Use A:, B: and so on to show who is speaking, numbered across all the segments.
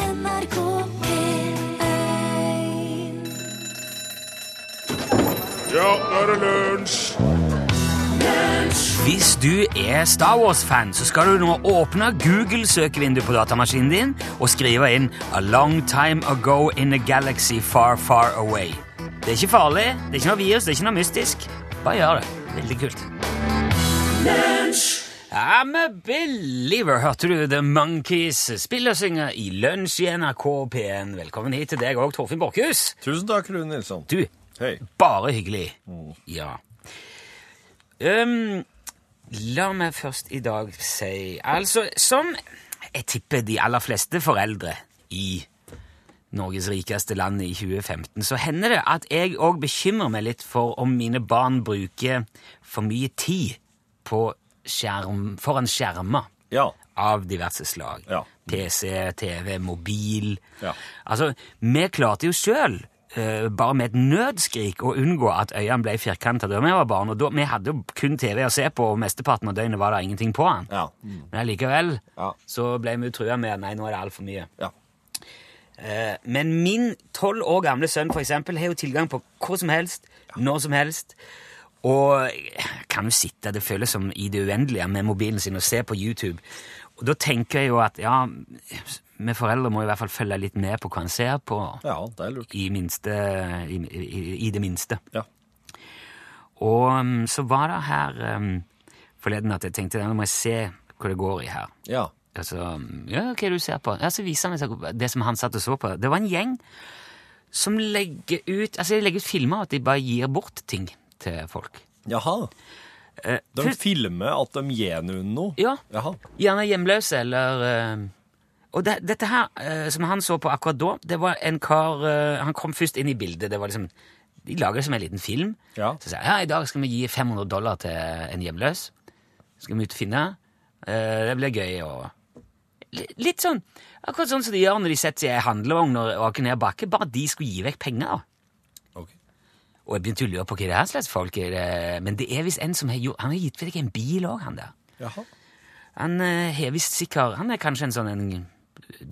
A: NRK P1
B: Ja, nå er det lunsj!
C: Hvis du er Star Wars-fan, så skal du nå åpne Google-søkevinduet på datamaskinen din og skrive inn A long time ago in a galaxy far, far away. Det er ikke farlig, det er ikke noe virus, det er ikke noe mystisk. Bare gjør det. Veldig kult. I'm a believer, hørte du The Monkeys spille og synge i lunsj i NRK P1. Velkommen hit til deg òg, Torfinn Borchhus.
B: Tusen takk, Rune Nilsson.
C: Du,
B: Hei.
C: bare hyggelig. Ja. Ehm, la meg først i dag si Altså, som jeg tipper de aller fleste foreldre i Norges rikeste land i 2015, så hender det at jeg òg bekymrer meg litt for om mine barn bruker for mye tid på skjerm, foran skjermer
B: Ja.
C: av diverse slag.
B: Ja.
C: PC, TV, mobil.
B: Ja.
C: Altså, vi klarte jo sjøl, bare med et nødskrik, å unngå at øynene ble firkanta da vi var barn. Og da, vi hadde jo kun TV å se på, og mesteparten av døgnet var det ingenting på den.
B: Ja.
C: Men allikevel
B: Ja.
C: så ble vi jo trua med at nei, nå er det altfor mye.
B: Ja.
C: Eh, Men min tolv år gamle sønn for eksempel, har jo tilgang på hva som helst, når som helst. Og kan jo sitte, det føles som i det uendelige, med mobilen sin og se på YouTube. Og da tenker jeg jo at ja, vi foreldre må i hvert fall følge litt med på hva han ser på,
B: ja, det er lurt.
C: i, minste, i, i, i det minste.
B: Ja.
C: Og um, så var det her um, forleden at jeg tenkte, nå må jeg se hva det går i her.
B: Ja.
C: Altså, ja, hva er det du ser på? Ja, så viser han meg så- det som han satt og så på. Det var en gjeng som legger ut altså de legger ut filmer at de bare gir bort ting til folk.
B: Jaha. De
C: fy-
B: filmer at de gir noen noe?
C: Ja,
B: Jaha.
C: Gjerne hjemløse eller eh, Og det, dette her eh, som han så på akkurat da, det var en kar eh, Han kom først inn i bildet. det var liksom, De lager det som en liten film.
B: Ja.
C: Så sier han ja, i dag skal vi gi 500 dollar til en hjemløs. Så skal vi ut og finne. Eh, det blir gøy. og... Li- Litt sånn akkurat sånn som de gjør når de setter seg i en handlevogn og aker ned bakke. Bare de skulle gi vekk penger. da.
B: Ok.
C: Og jeg begynte å lure på hva det her slags folk er. det- Men det er visst en som har, gjort, han har gitt vekk en bil òg, han der.
B: Jaha.
C: Han eh, har visst sikkert Han er kanskje en sånn en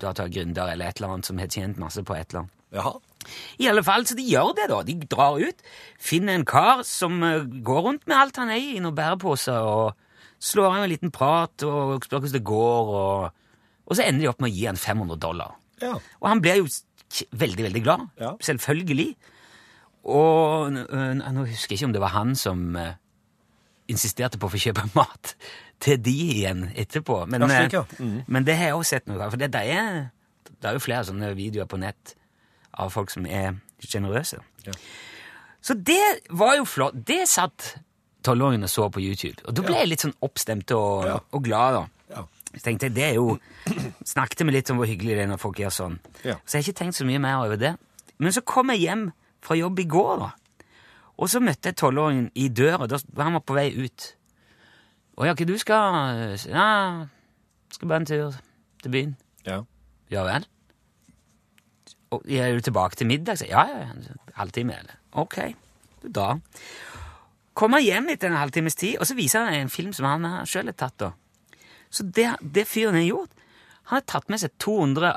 C: datagründer eller et eller annet som har tjent masse på et eller annet.
B: Jaha.
C: I alle fall, så de gjør det, da. De drar ut, finner en kar som eh, går rundt med alt han eier i noen bæreposer, og slår av en liten prat og spør hvordan det går, og Og så ender de opp med å gi han 500 dollar.
B: Ja.
C: Og han blir jo k- veldig, veldig glad.
B: Ja.
C: Selvfølgelig. Og n- n- nå husker jeg ikke om det var han som eh, insisterte på å få kjøpe mat til de igjen etterpå. Men,
B: Ja, slik, ja.
C: eh,
B: Mhm.
C: men det har jeg også sett noe av. For det, det, er, det er jo flere sånne videoer på nett av folk som er sjenerøse.
B: Ja.
C: Så det var jo flott. Det satt tolvåringen og så på YouTube. Og da ble jeg litt sånn oppstemt og,
B: Ja.
C: og glad, da.
B: Ja.
C: Så tenkte jeg, det er jo Snakket vi litt om hvor hyggelig det er når folk gjør sånn.
B: Ja.
C: Så jeg har ikke tenkt så mye mer over det. Men så kom jeg hjem fra jobb i går, da. Og så møtte jeg tolvåringen i døra. Da var han på vei ut. 'Å ja, hva du skal eh, Ja, skal bare en tur til byen.'
B: Ja.
C: Ja vel? Og er du tilbake til middag? Så, ja, ja, ja. Halvtime, eller? Ok, du da. Kommer hjem etter en halvtimes tid, og så viser han en film som han sjøl har tatt. da. Så det, det fyren har gjort Han har tatt med seg 200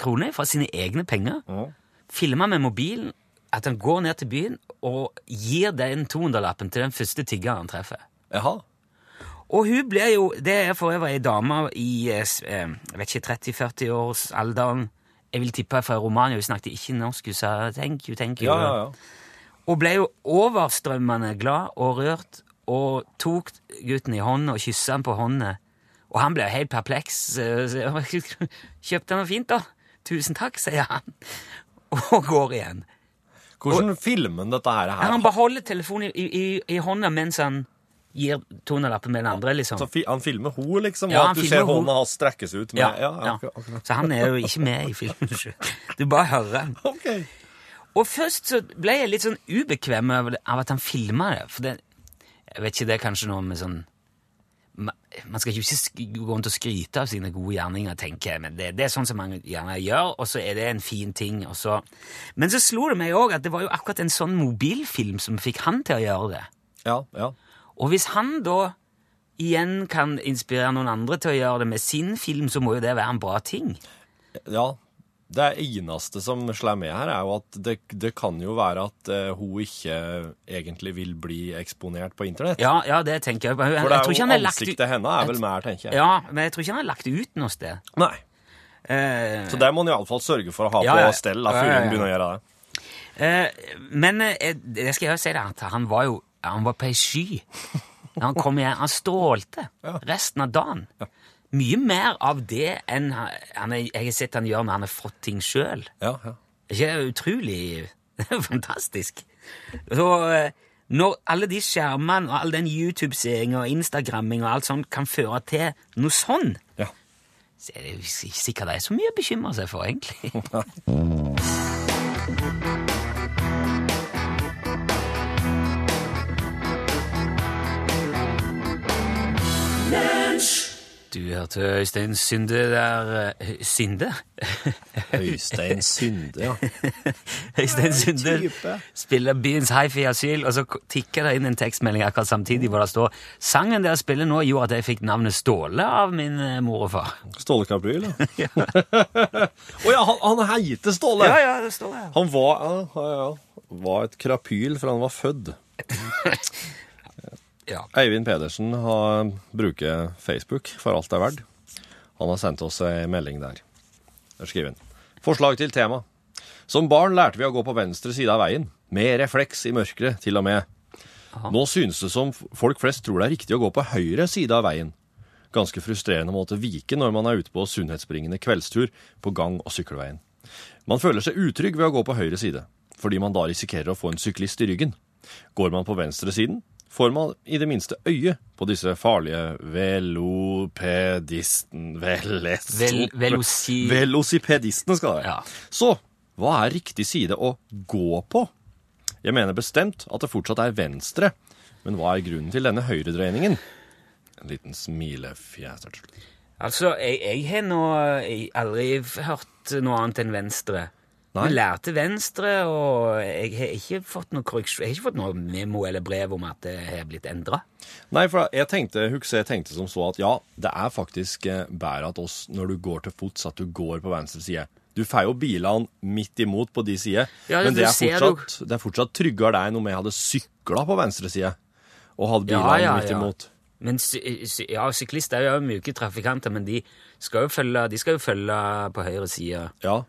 C: kroner fra sine egne penger,
B: Mhm.
C: filma med mobilen at han går ned til byen og gir den 200-lappen til den første tiggeren han treffer.
B: Jaha.
C: Og hun blir jo Det er for øvrig ei dame i eh, s- eh, jeg vet ikke, 30-40-årsalderen. Jeg vil tippe fra Romania. Hun snakket ikke norsk. Hun sa 'thank you, thank you'.
B: Ja, ja, ja.
C: Og ble jo overstrømmende glad og rørt og tok gutten i hånden og kyssa han på hånda. Og han ble jo helt perpleks. eh, så- Kjøpte han noe fint, da? Tusen takk, sier han. Og går igjen.
B: Hvordan filmer dette her?
C: Ja,
B: her?
C: han beholder telefonen i, i, i hånda mens han gir tonerlappen med den andre, liksom.
B: Så Altså, fi han filmer ho, liksom?
C: Ja,
B: og
C: han
B: at du
C: filmer
B: ser
C: ho.
B: hånda hans strekkes ut? Med,
C: Ja,
B: ja,
C: ja.
B: ok, ok.
C: Så han er jo ikke med i filmen sjøl. Du bare hører han.
B: Ok.
C: Og først så ble jeg litt sånn ubekvem av det- av at han filma det. For det, jeg vet ikke, det er kanskje noe med sånn ma- Man skal jo ikke sk- gå rundt og skryte av sine gode gjerninger, tenker jeg, men det, det er sånn som man gjerne gjør, og så er det en fin ting, og så Men så slo det meg òg at det var jo akkurat en sånn mobilfilm som fikk han til å gjøre det.
B: Ja, ja.
C: Og hvis han da igjen kan inspirere noen andre til å gjøre det med sin film, så må jo det være en bra ting.
B: Ja.
D: Det eneste som slår med her, er jo at det, det kan jo være at eh, hun ikke egentlig vil bli eksponert på internett.
C: Ja, ja, det tenker jeg. på. Jeg,
D: For det
C: jeg tror
D: er
C: ikke
D: jo
C: han har lagt ut
D: ansiktet hennes er vel
C: Jeg-
D: mer, tenker jeg.
C: Ja, men jeg tror ikke han har lagt det ut noe sted.
D: Nei.
C: Eh,
D: Så det må en iallfall sørge for å ha
C: Ja, ja.
D: på stell da,
C: Ja,
D: før
C: ja, ja.
D: hun begynner å gjøre det.
C: eh, men eh, det skal jeg jo si deg, at han var jo han var på ei sky. Når han kom hjem, han strålte
D: Ja.
C: resten av dagen. Mye mer av det enn han, han er- jeg har sett han gjør når han har fått ting sjøl.
D: Ja, ja.
C: ikke det utrolig Det er jo fantastisk. Så eh, når alle de skjermene og all den YouTube-seeringa og Instagramming og alt sånt kan føre til noe sånn,
D: Ja.
C: så er det jo s- ikke sikkert det er så mye å bekymre seg for, egentlig. Du hørte Øystein Synde der eh, Synde?
D: Øystein Synde, ja.
C: Øystein Sunde
D: type.
C: spiller byens hifi asyl, og så k- tikker det inn en tekstmelding akkurat samtidig hvor det står sangen dere spiller nå gjorde at jeg fikk navnet Ståle av min eh, mor og far.
D: Ståle Kabryl, ja. Å ja, han, han heter Ståle!
C: ja, det står det.
D: Han var, ja, ja, ja, var et krapyl fra han var fødd.
C: Ja.
D: Eivind Pedersen har, bruker Facebook for alt det er verdt. Han har sendt oss ei melding der. Der skriver han. Forslag til tema. Som barn lærte vi å gå på venstre side av veien, med refleks i mørket til og med. Nå synes det som folk flest tror det er riktig å gå på høyre side av veien. Ganske frustrerende å måtte vike når man er ute på sunnhetsbringende kveldstur på gang- og sykkelveien. Man føler seg utrygg ved å gå på høyre side, fordi man da risikerer å få en syklist i ryggen. Går man på venstresiden, får man i det minste øye på disse farlige velopedisten... Velestop...
C: Vel, velosi...
D: Velosipedistene skal det være.
C: Ja.
D: Så hva er riktig side å gå på? Jeg mener bestemt at det fortsatt er venstre, men hva er grunnen til denne høyredreiningen? En liten smilefjes der til slutt.
C: Altså, jeg, jeg har nå jeg har aldri f- hørt noe annet enn venstre.
D: Nei.
C: Jeg lærte venstre, og jeg har ikke fått noe korreksjon. Jeg har ikke fått noe memo eller brev om at det har blitt endra.
D: Nei, for jeg tenkte, Huxley tenkte som så at ja, det er faktisk eh, bedre at oss, når du går til fots, at du går på venstre side. Du får jo bilene midt imot på de sider,
C: Ja,
D: men
C: du
D: det er,
C: ser
D: fortsatt, det er fortsatt tryggere der enn om jeg hadde sykla på venstre side og hadde
C: Ja,
D: bilene
C: ja,
D: midt
C: ja.
D: imot.
C: Men sy- sy- ja, syklister er jo myke trafikanter, men de skal jo følge, de skal jo følge på høyre side.
D: Ja,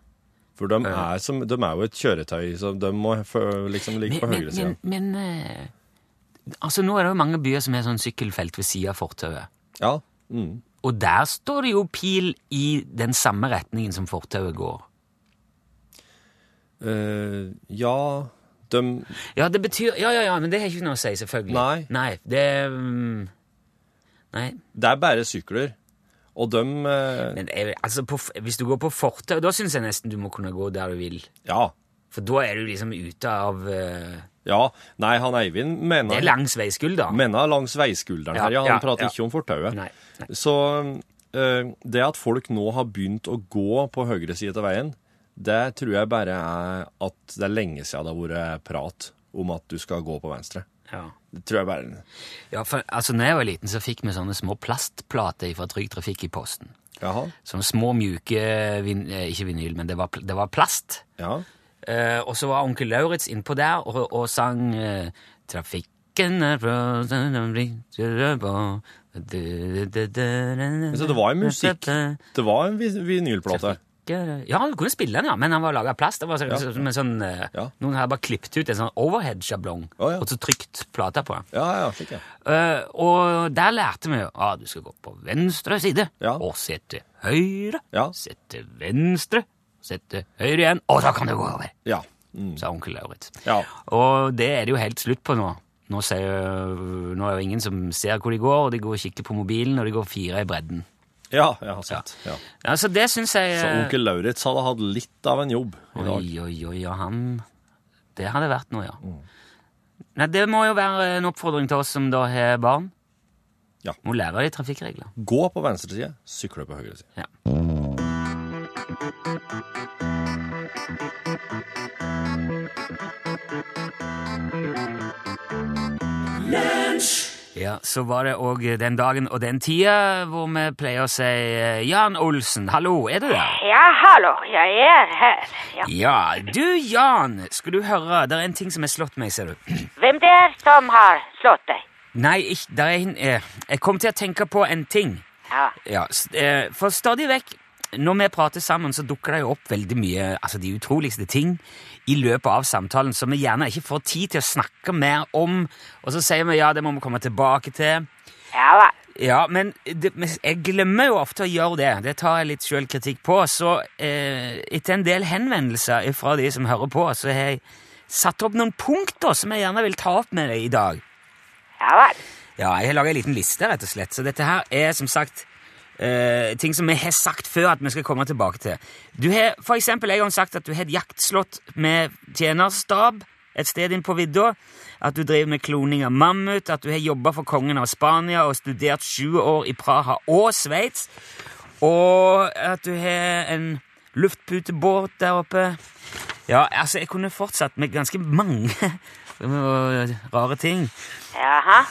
D: for de er, som, de er jo et kjøretøy, så de må fø- liksom ligge på høyre siden.
C: men, eh, altså Nå er det jo mange byer som har sånn sykkelfelt ved siden av fortauet.
D: Ja, mm.
C: Og der står det jo pil i den samme retningen som fortauet går.
D: Eh, ja, de,
C: Ja, det betyr Ja, ja, ja, men det har ikke noe å si, selvfølgelig.
D: Nei.
C: Nei, det mm, Nei.
D: det er bare sykler, og de, eh,
C: Men jeg, altså, på, f- hvis du går på fortau, da syns jeg nesten du må kunne gå der du vil.
D: ja,
C: For da er du liksom ute av eh,
D: ja, nei, han Eivind
C: Det
D: mener,
C: er langs veiskulder.
D: mener langs veiskulderen
C: Ja,
D: her, ja, han
C: ja,
D: prater
C: ja.
D: ikke om fortauet.
C: Nei, nei.
D: Så eh, det at folk nå har begynt å gå på høyre side av veien, det tror jeg bare er at det er lenge siden det har vært prat om at du skal gå på venstre.
C: Ja.
D: Det tror jeg bare,
C: Ja, for altså, når jeg var liten, så fikk vi sånne små plastplater fra Trygg Trafikk i posten.
D: jaha,
C: Sånne små, mjuke vin eh, Ikke vinyl, men det var, pl- det var plast.
D: ja.
C: Eh, og så var onkel Lauritz innpå der og, og sang eh, Trafikken er fra
D: Så
C: Så
D: det var jo musikk. Det var en vi- vinylplate.
C: Ja, du kunne spille den, ja, men han var laga av plast. Det var så, så, med sånn, eh,
D: Ja.
C: Noen hadde bare klippet ut en sånn overhead-sjablong
D: Å, ja.
C: og så trykt plata på den.
D: Ja, ja, slik, ja.
C: Eh, og der lærte vi jo ah, du skal gå på venstre side
D: Ja.
C: og se til høyre.
D: Ja.
C: Se til venstre, se til høyre igjen, og så kan du gå over!
D: Ja. Mm.
C: sa onkel Lauritz.
D: Ja.
C: Og det er det jo helt slutt på nå. Nå, ser, nå er det jo ingen som ser hvor de går, og de går og kikker på mobilen, og de går fire i bredden.
D: ja, jeg har sett. Ja.
C: Ja, så det syns jeg
D: Så
C: eh,
D: onkel Lauritz hadde hatt litt av en jobb i dag.
C: Oi, oi, oi, ja, han Det hadde vært noe, ja.
D: Mm.
C: Nei, det må jo være en oppfordring til oss som da har barn.
D: Ja.
C: Må lære de trafikkregler.
D: Gå på venstre side, sykle på høyre side.
C: Ja. Ja, Ja, så var det òg den dagen og den tida hvor vi pleier å si eh, Jan Olsen, hallo, er du der?
A: Ja, hallo, jeg er her. Ja.
C: Ja, du Jan, skal du høre, det er en ting som har slått meg, ser du.
A: Hvem det er som har slått deg?
C: Nei, ikk- der er, en- eh, jeg kom til å tenke på en ting.
A: Ja,
C: Ja, s- eh, for stadig vekk, når vi prater sammen, så dukker det jo opp veldig mye, altså de utroligste ting, i løpet av samtalen, som vi gjerne ikke får tid til å snakke mer om, og så sier vi ja, det må vi komme tilbake til.
A: ja vel.
C: Ja, men det, men jeg glemmer jo ofte å gjøre det. Det tar jeg litt sjølkritikk på. Så eh, etter en del henvendelser fra de som hører på, så har jeg satt opp noen punkter som jeg gjerne vil ta opp med deg i dag.
A: Ja vel.
C: Ja, jeg har laga ei liten liste, rett og slett. Så dette her er som sagt eh, ting som vi har sagt før at vi skal komme tilbake til. Du har for eksempel en gang sagt at du har et jaktslott med tjenerstab et sted inn på vidda, at du driver med kloning av mammut, at du har jobba for kongen av Spania og studert sju år i Praha og Sveits, og at du har en luftputebåt der oppe. Ja, altså, jeg kunne fortsatt med ganske mange rare ting.
A: Jaha.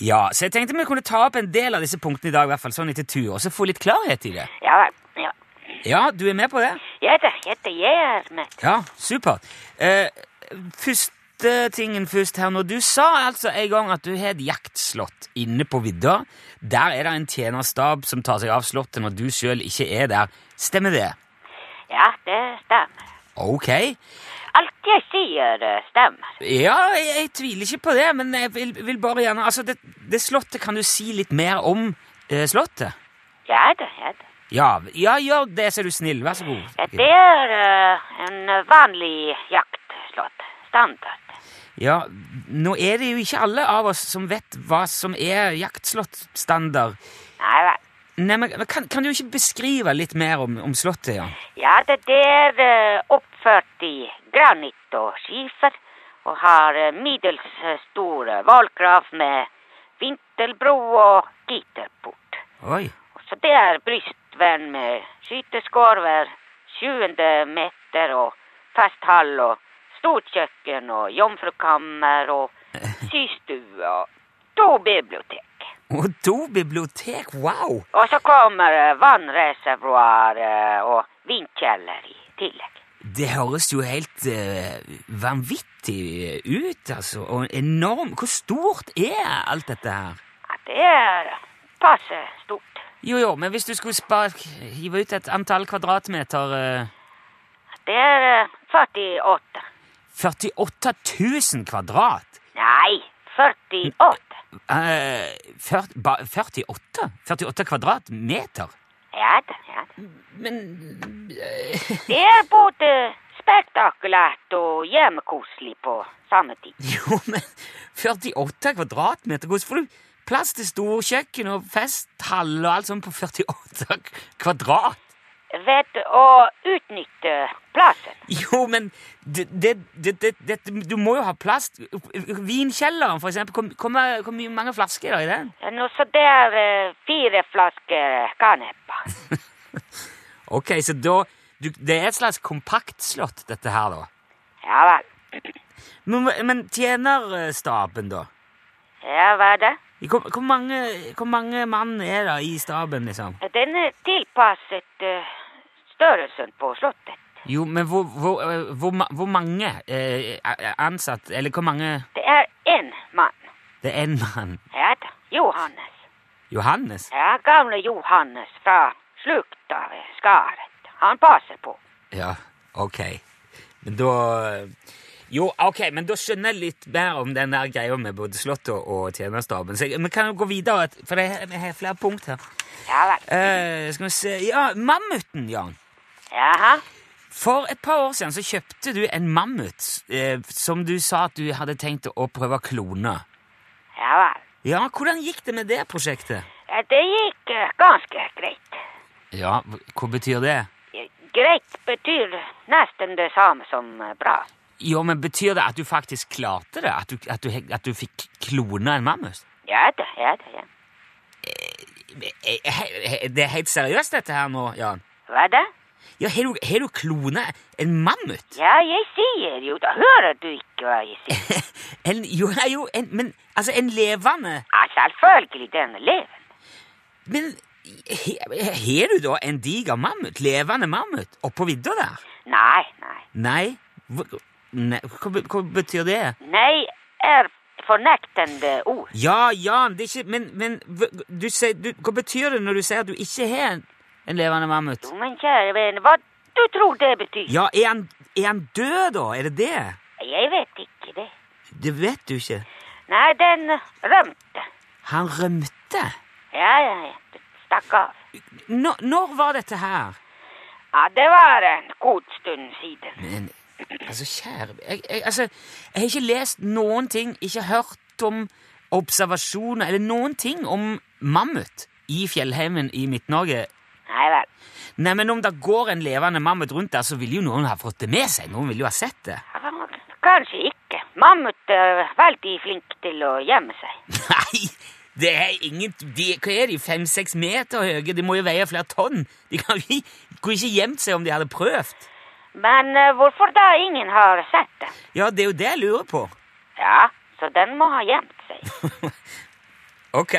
C: Ja, så jeg tenkte vi kunne ta opp en del av disse punktene i dag, i hvert fall sånn etter tur, og så få litt klarhet i det.
A: Ja vel. Ja.
C: Ja, du er med på det?
A: Jeg er jeg er med.
C: Ja, supert. Eh, første tingen først her nå. Du sa altså en gang at du har et jaktslott inne på vidda. Der er det en tjenerstab som tar seg av slottet når du sjøl ikke er der. Stemmer det?
A: Ja, det stemmer.
C: Ok.
A: Alt jeg sier eh, stemmer.
C: Ja, jeg, jeg tviler ikke på det, men jeg vil, vil bare gjerne Altså, det, det slottet, kan du si litt mer om eh, slottet?
A: Ja da, ja da.
C: Ja, ja, gjør det, så er du snill. Vær så god.
A: Ja, Det er eh, en vanlig jaktslott. Standard.
C: Ja, nå er det jo ikke alle av oss som vet hva som er jaktslottstandard.
A: Nei vel.
C: Nei, men kan, kan du ikke beskrive litt mer om, om slottet, ja?
A: Ja, det det er eh, oppført i granitt og skifer, og har eh, middels eh, stor eh, vollgrav med vinterbro og gitterport.
C: Oi.
A: Så det er brystvern med skyteskår hver 20. meter og fast hall og stort kjøkken og jomfrukammer og systue og to bibliotek.
C: Og to bibliotek, wow!
A: Og så kommer eh, vannreservoar eh, og vindkjeller i tillegg.
C: Det høres jo helt eh, vanvittig ut, altså. Og enorm. Hvor stort er alt dette her?
A: Ja, det er passe stort.
C: Jo, jo, men hvis du skulle spark, hive ut et antall kvadratmeter eh,
A: Det er eh, 48.
C: 48 000 kvadrat?
A: Nei, 48.
C: Eh, fyrt- ba- 48? 48 kvadratmeter?
A: Ja da, ja da.
C: Men
A: Det er både spektakulært og hjemmekoselig på samme tid.
C: Jo, men 48 kvadratmeter? Hvordan får du plass til storkjøkken og festhall og alt sånt på 48 kvadrat?
A: Ved å utnytte plassen.
C: Jo, men det, det, det, det, det, du må jo ha plass. Vinkjelleren, for eksempel. Hvor- Hvor mye- hvor mye- mange flasker er det i den?
A: Nå, så det er eh, fire flasker kanepa.
C: Ok, så da du, Det er et slags kompaktslott, dette her, da.
A: Ja vel.
C: Men, men tjenerstaben, da?
A: Ja, hva er det?
C: Hvor, hvor, mange, hvor mange mann er det i staben, liksom?
A: Den er tilpasset eh, størrelsen på slottet.
C: Jo, men hvor, hvor, eh, hvor, ma- hvor mange eh, er- er ansatt Eller hvor mange
A: Det er én mann.
C: Det er en mann.
A: Ja da. Johannes.
C: Johannes?
A: Ja, gamle Johannes fra slukta ved skaret. Han passer på.
C: Ja, ok. Men da Jo, ok, men da skjønner jeg litt mer om den der greia med både Slottet og tjenerstaben. Så jeg, vi kan jo gå videre, for det er- jeg har flere punkt her.
A: Ja vel.
C: Eh, skal vi se Ja, mammuten, Jan.
A: Jaha.
C: For et par år siden så kjøpte du en mammut eh, som du sa at du hadde tenkt å prøve å klone.
A: Ja vel.
C: Ja, hvordan gikk det med det prosjektet?
A: Ja, Det gikk eh, ganske greit.
C: Ja, hva betyr det?
A: Eh, Greit betyr nesten det samme som eh, bra.
C: Jo, men Betyr det at du faktisk klarte det? At du, at du, he- at du fikk klona en mammut?
A: Ja da, ja da, ja.
C: Eh, he- he- Det er helt seriøst, dette her nå, Jan?
A: Hva da?
C: Ja, har du, har du klona en mammut?
A: Ja, jeg sier jo da. Hører du ikke hva jeg sier?
C: En, jo, nei, jo, en, men altså, en levende
A: Ja, selvfølgelig, den eleven.
C: Men he- har du da en diger mammut? Levende mammut? Oppå vidda der?
A: Nei, nei.
C: Nei? Hva, nei hva, be- hva betyr det?
A: Nei er fornektende ord.
C: Ja, Jan, det er ikke Men, men hva- du sier, du, hva betyr det når du sier at du ikke har en, en levende mammut?
A: Jo, men kjære venn, hva du tror det betyr?
C: Ja, er han, er han død, da? Er det det?
A: Jeg vet ikke det.
C: Det vet du ikke.
A: Nei, den rømte.
C: Han rømte.
A: Ja, ja, ja. Stakk av.
C: Nå, når var dette her?
A: Ja, det var en god stund siden.
C: Men altså, kjære jeg, jeg, altså, jeg har ikke lest noen ting, ikke hørt om observasjoner eller noen ting om mammut i fjellheimen i Midt-Norge.
A: Nei vel.
C: Nei, men om det går en levende mammut rundt der, så vil jo noen ha fått det med seg. Noen vil jo ha sett det.
A: Kanskje ikke. Mammut er veldig flink til å gjemme seg.
C: Nei! Det er ingen, de, hva er de, fem-seks meter høye? De må jo veie flere tonn. De kan jo ikke- kunne ikke gjemt seg om de hadde prøvd.
A: Men eh, hvorfor da ingen har sett den?
C: Ja, det er jo det jeg lurer på.
A: Ja, så den må ha gjemt seg.
C: Ok.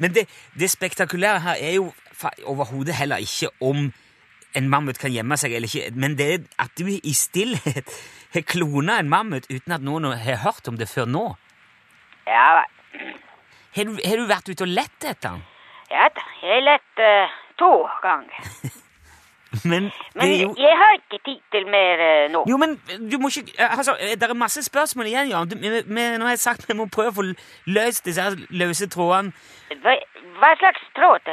C: Men det, det spektakulære her er jo fa- overhodet heller ikke om en mammut kan gjemme seg eller ikke, men det er at du i stillhet har klona en mammut uten at noen har hørt om det før nå.
A: Ja vel.
C: Har du, har du vært ute og lett etter den?
A: Ja da, jeg lette eh, to ganger.
C: Men, det
A: Men
C: er jo...
A: jeg har ikke tid til mer eh, nå.
C: Jo, men du må ikke Altså, det er masse spørsmål igjen, Jan. Du, vi, vi, nå har jeg sagt vi må prøve å få løst disse her løse trådene.
A: Hva, hva slags tråd?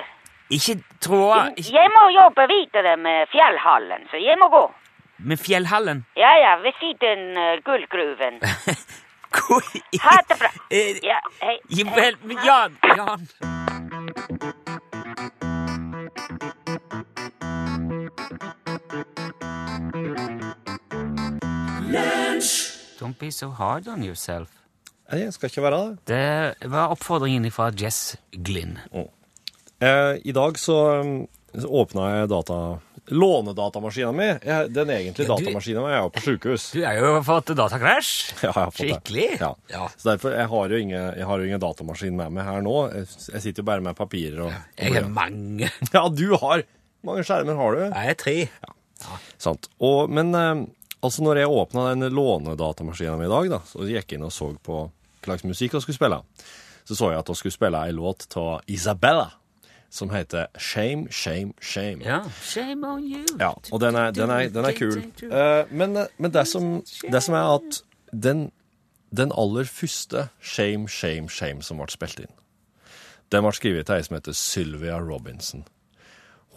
C: Ikke tråder ikke-
A: Jeg må jobbe videre med fjellhallen, så jeg må gå.
C: Med fjellhallen.
A: Ja ja, ved siden eh, gullgruven.
C: Hvor i-
A: Ha det bra.
C: Eh,
A: Ja, hei.
C: Jo
A: hei.
C: vel, men Jan, Jan Don't be so hard on yourself.
D: Nei, jeg skal ikke være det.
C: Det var oppfordringen fra Jess Glynn.
D: Eh, I dag så, um, så åpna jeg data... Lånedatamaskina mi. Jeg, den egentlige
C: Ja, du-
D: datamaskina mi er jo på sjukehus.
C: Du er jo fått datakrasj.
D: Ja, jeg har fått det.
C: Skikkelig.
D: Ja. Så derfor, jeg har jo ingen, jeg har jo ingen datamaskin med meg her nå. Jeg, jeg sitter jo bare med papirer og...
C: Jeg har mange.
D: Ja, du har! Hvor mange skjermer har du?
C: Jeg er tre.
D: Sant. Og, men eh, altså når jeg åpna den lånedatamaskinen min i dag, da, så gikk jeg inn og så på hva slags musikk jeg skulle spille, så så jeg at jeg skulle spille ei låt av Isabella som heter Shame, Shame, Shame.
C: Ja. Shame on you.
D: Ja, og den er, den er, den er kul. Eh, men men det, som, det som er at den, den aller første Shame, Shame, Shame som ble spilt inn, den ble skrevet til ei som heter Sylvia Robinson.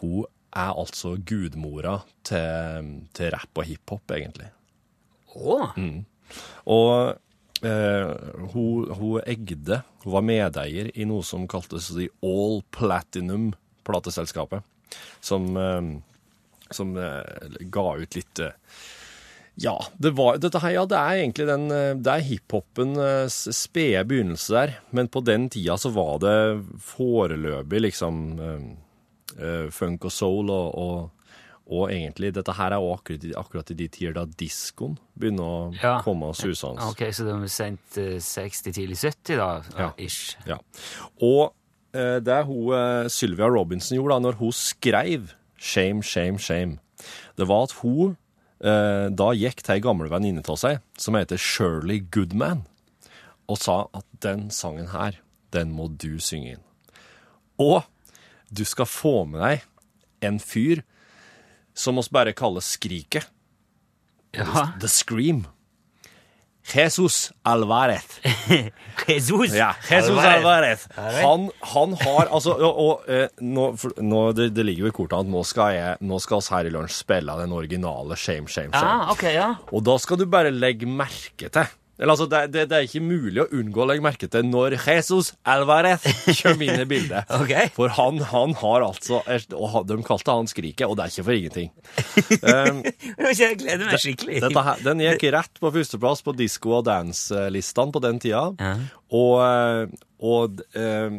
D: Hun er altså gudmora til, til rapp og hiphop, egentlig.
C: Å,
D: Og eh, hun, hun egde, hun var medeier i noe som kaltes The All Platinum plateselskapet, som, eh, som eh, ga ut litt eh, ja, det var, dette her, ja, det er egentlig den, eh, det er hiphopens spede begynnelse der, men på den tida så var det foreløpig liksom eh, eh, funk og soul og, og, og egentlig, dette her er jo akkurat, i- akkurat i de tider da diskoen begynner å
C: Ja.
D: komme og suse hans.
C: Ah, Ok, så det var sent eh, 60, tidlig 70 da,
D: Ja.
C: ish.
D: Ja. Og eh, det hun, eh, Sylvia Robinson gjorde da, når hun skrev Shame, Shame, Shame, det var at hun eh, da gikk til ei gammel venninne av seg, som heter Shirley Goodman, og sa at den sangen her, den må du synge inn. Og du skal få med deg en fyr som oss bare kaller Skriket.
C: Ja.
D: The Scream. Jesus Alvarez.
C: Jesus!
D: Ja, Jesus Alvarez. Han, han har altså Og, og eh, nå, for, nå, det, det ligger jo i kortene at nå skal, jeg, nå skal oss her i lunsj spille den originale Shame, Shame, Shame.
C: Ah, ok, ja.
D: Og da skal du bare legge merke til eller altså, det, det, det er ikke mulig å unngå å legge merke til når Jesus Alvarez kommer inn i bildet.
C: Ok.
D: For han, han har altså og han- De kalte han Skriket, og det er ikke for ingenting.
C: Jeg gleder meg skikkelig.
D: Dette her, den gikk rett på førsteplass på disco- og dance-listene på den tida.
C: Ja.
D: Og, og eh,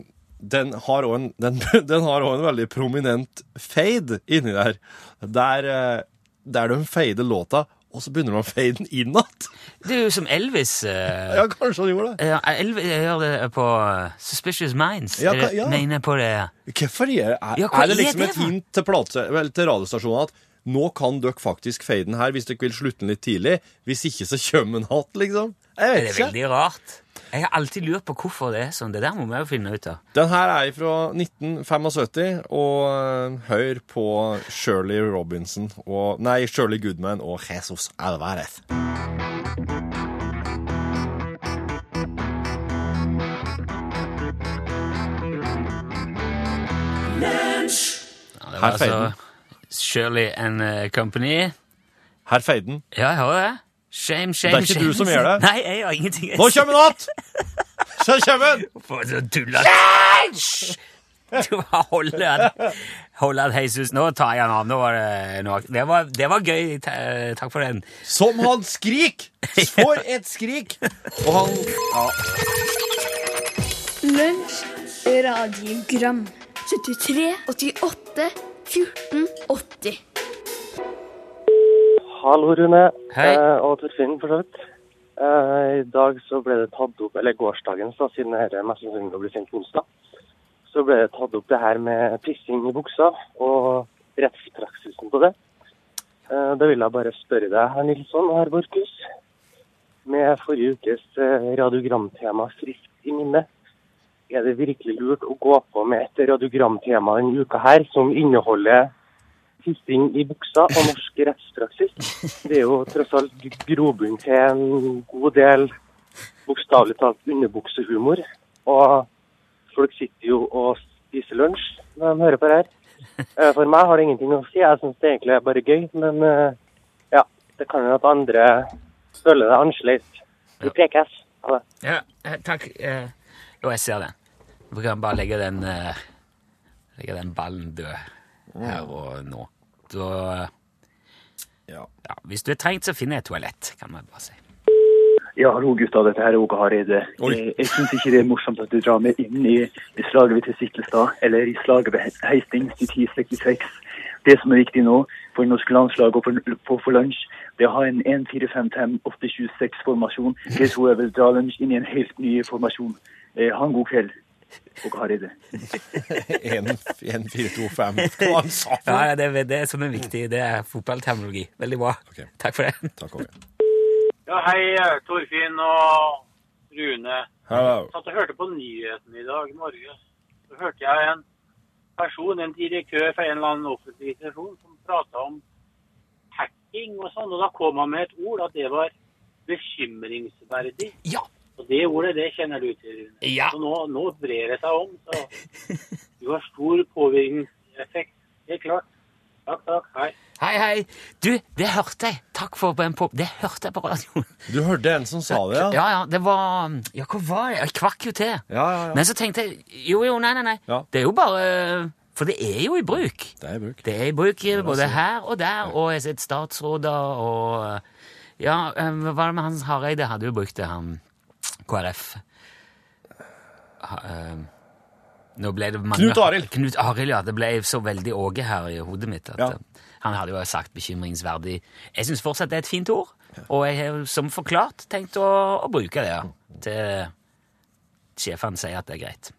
D: den har òg en, den, den har også en veldig prominent fade inni der. Der, eh, der de fader låta, og så begynner de å fade den inn igjen.
C: Det er jo som Elvis. eh,
D: Ja, kanskje han gjorde det.
C: ja, Elvis jeg gjør det på eh, Suspicious Minds.
D: Ja,
C: Dere
D: ka- ja.
C: Mener på det.
D: Hvorfor gjør er,
C: Ja, hva
D: er det
C: er
D: liksom
C: det
D: et
C: da?
D: hint til, plate, vel, til radiostasjonen at nå kan dere faktisk fade den her hvis dere vil slutte den litt tidlig? Hvis ikke så kommer den igjen, liksom. Jeg
C: Det er
D: vet ikke.
C: veldig rart. Jeg har alltid lurt på hvorfor det er sånn. Det der må vi jo finne ut av.
D: Den her er fra 1975, og eh, hør på Shirley Robinson og Nei, Shirley Goodman og Jesus Alvarez.
C: Ja, det altså
D: Her feiler
C: Shirley and eh, Company.
D: Her fader den.
C: Ja, jeg hører det. Shame, shame,
D: Det er ikke
C: shame.
D: du som gjør det.
C: Nei, jeg gjør ingenting.
D: Nå kommer den igjen! Så kommer den!
C: For så tullet. Hysj! Du bare holder han. Holder han Jesus. Nå tar jeg han av. Nå var det nok. Det var, det var gøy. Ta- eh, Takk for den.
D: Som han skrik! For et skrik! Og han ja.
E: Lunsj, radiogram 73, 88, 14, 80
F: Hallo, Rune.
C: Hei.
F: Eh, og Torfinn, for så vidt. Eh, I dag så ble det tatt opp, eller gårsdagens, da, siden dette mest sannsynlig blir sendt på onsdag, så ble det tatt opp det her med pissing i buksa og rettspraksisen på det. Eh, da vil jeg bare spørre deg, herr Nilsson og herr Borchhus, med forrige ukes eh, radiogramtema friskt i minne, er det virkelig lurt å gå på med et radiogramtema denne uka her som inneholder pissing i buksa og norsk rettspraksis. Det er jo tross alt g- grobunn til en god del bokstavelig talt underbuksehumor. Og folk sitter jo og spiser lunsj når de hører på det her. Eh, For meg har det ingenting å si. Jeg syns det egentlig er bare gøy. Men eh, ja, det kan jo at andre føler det annerledes. Du prekes. Ha det.
C: Ja, eh, takk. eh, Jo, jeg ser den. Vi kan bare legge den, eh, legge den ballen død her og nå. Da,
D: Mm. ja.
C: ja, hvis du er trengt, så finner jeg et toalett, kan man bare si.
G: Ja, hallo gutta, dette her er Åge Hareide. Eh,
D: Oi.
G: Jeg, jeg syns ikke det er morsomt at du drar meg inn i, i slaget ved Testiklestad, eller i slaget ved He- Hastings i 1066. Det som er viktig nå for norsk landslag og for, for, for lunsj, det er å ha en 1-4-5-5-8-26-formasjon. Det tror jeg vil dra lunsj inn i en helt ny formasjon. Eh, ha en god kveld, Åge Hareide.
D: 1425. Hva han sa for
C: Ja, ja, det, er- det er som er viktig. Det er fotballterminologi. Veldig bra.
D: Ok.
C: Takk for det.
D: Takk, Åge.
H: Ja, hei, eh, Torfinn og Rune.
D: Hello.
H: Jeg satt og hørte på nyheten i dag, Norge. Så hørte jeg en person, en direktør fra en eller annen offentlig institusjon, som prata om hacking og sånn. Og da kom han med et ord, at det var bekymringsverdig.
C: Ja.
H: Og det ordet, det kjenner du til, Rune.
C: Ja.
H: Så nå, nå brer det seg om. Så du har stor påvirkningseffekt. Helt klart. Takk, takk. Hei.
C: Hei, hei. Du, det hørte jeg. Takk for den på... Det hørte jeg på radioen.
D: Du hørte en som sa det, ja?
C: Ja, ja, det var Ja, hva var det? Jeg kvakk jo til.
D: Ja, ja, ja.
C: Men så tenkte jeg Jo, jo, nei, nei, nei.
D: Ja.
C: Det er jo bare For det er jo i bruk.
D: Det er i bruk.
C: Det er i bruk både her og der, og jeg har sett statsråder og Ja, eh, hva var det med Hans Hareide? Hadde jo brukt det, han KrF. Ha- eh, Nå ble det mange,
D: Knut Arild.
C: Knut Arild, ja. Det ble så veldig Åge her i hodet mitt. At,
D: Ja.
C: eh, Han hadde jo sagt bekymringsverdig. Jeg syns fortsatt det er et fint ord, og jeg har som forklart tenkt å, å bruke det ja, til sjefene sier at det er greit.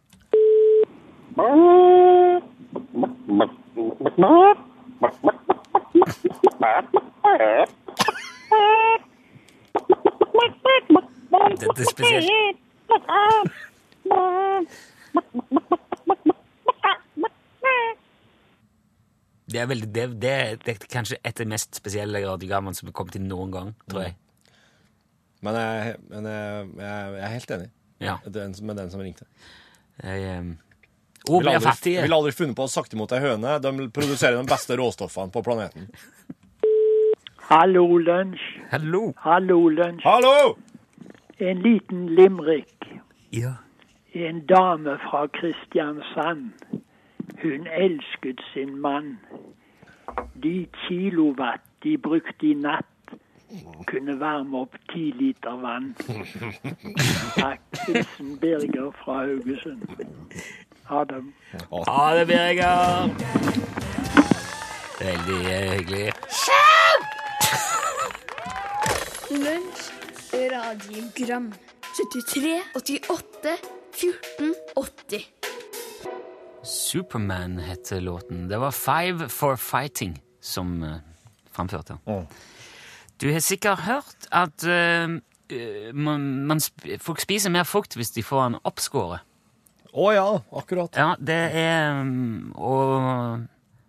C: Dette er spesielt. Det er, veldig, det, det, det er kanskje et av de mest spesielle radiogrammene som er kommet inn noen gang, tror jeg.
D: Men, jeg, men jeg, jeg jeg er helt enig
C: Ja.
D: den, med den som ringte.
C: Jeg, um, ord
D: Ville
C: blir
D: aldri,
C: fattige.
D: ville aldri funnet på å sakte mot ei høne. De produserer de beste råstoffene på planeten.
I: Hallo, lunsj.
C: Hallo.
I: Hallo, lunsj.
D: Hallo!
I: En liten limerick.
C: Ja.
I: En dame fra Kristiansand. Hun elsket sin mann. De kilowatt de brukte i natt, kunne varme opp ti liter vann. Takk. Hilsen Birger fra Haugesund.
J: Ha det.
C: Ha det, Birger! Veldig eh, hyggelig.
E: Lunsj, radiogram 73, 88, 14, 80
C: Superman heter låten. Det var Five for Fighting som eh, framførte den. Du har sikkert hørt at eh, eh, man, man sp folk spiser mer frukt hvis de får den oppskåret.
B: Å ja, akkurat.
C: Ja, det er mm, Og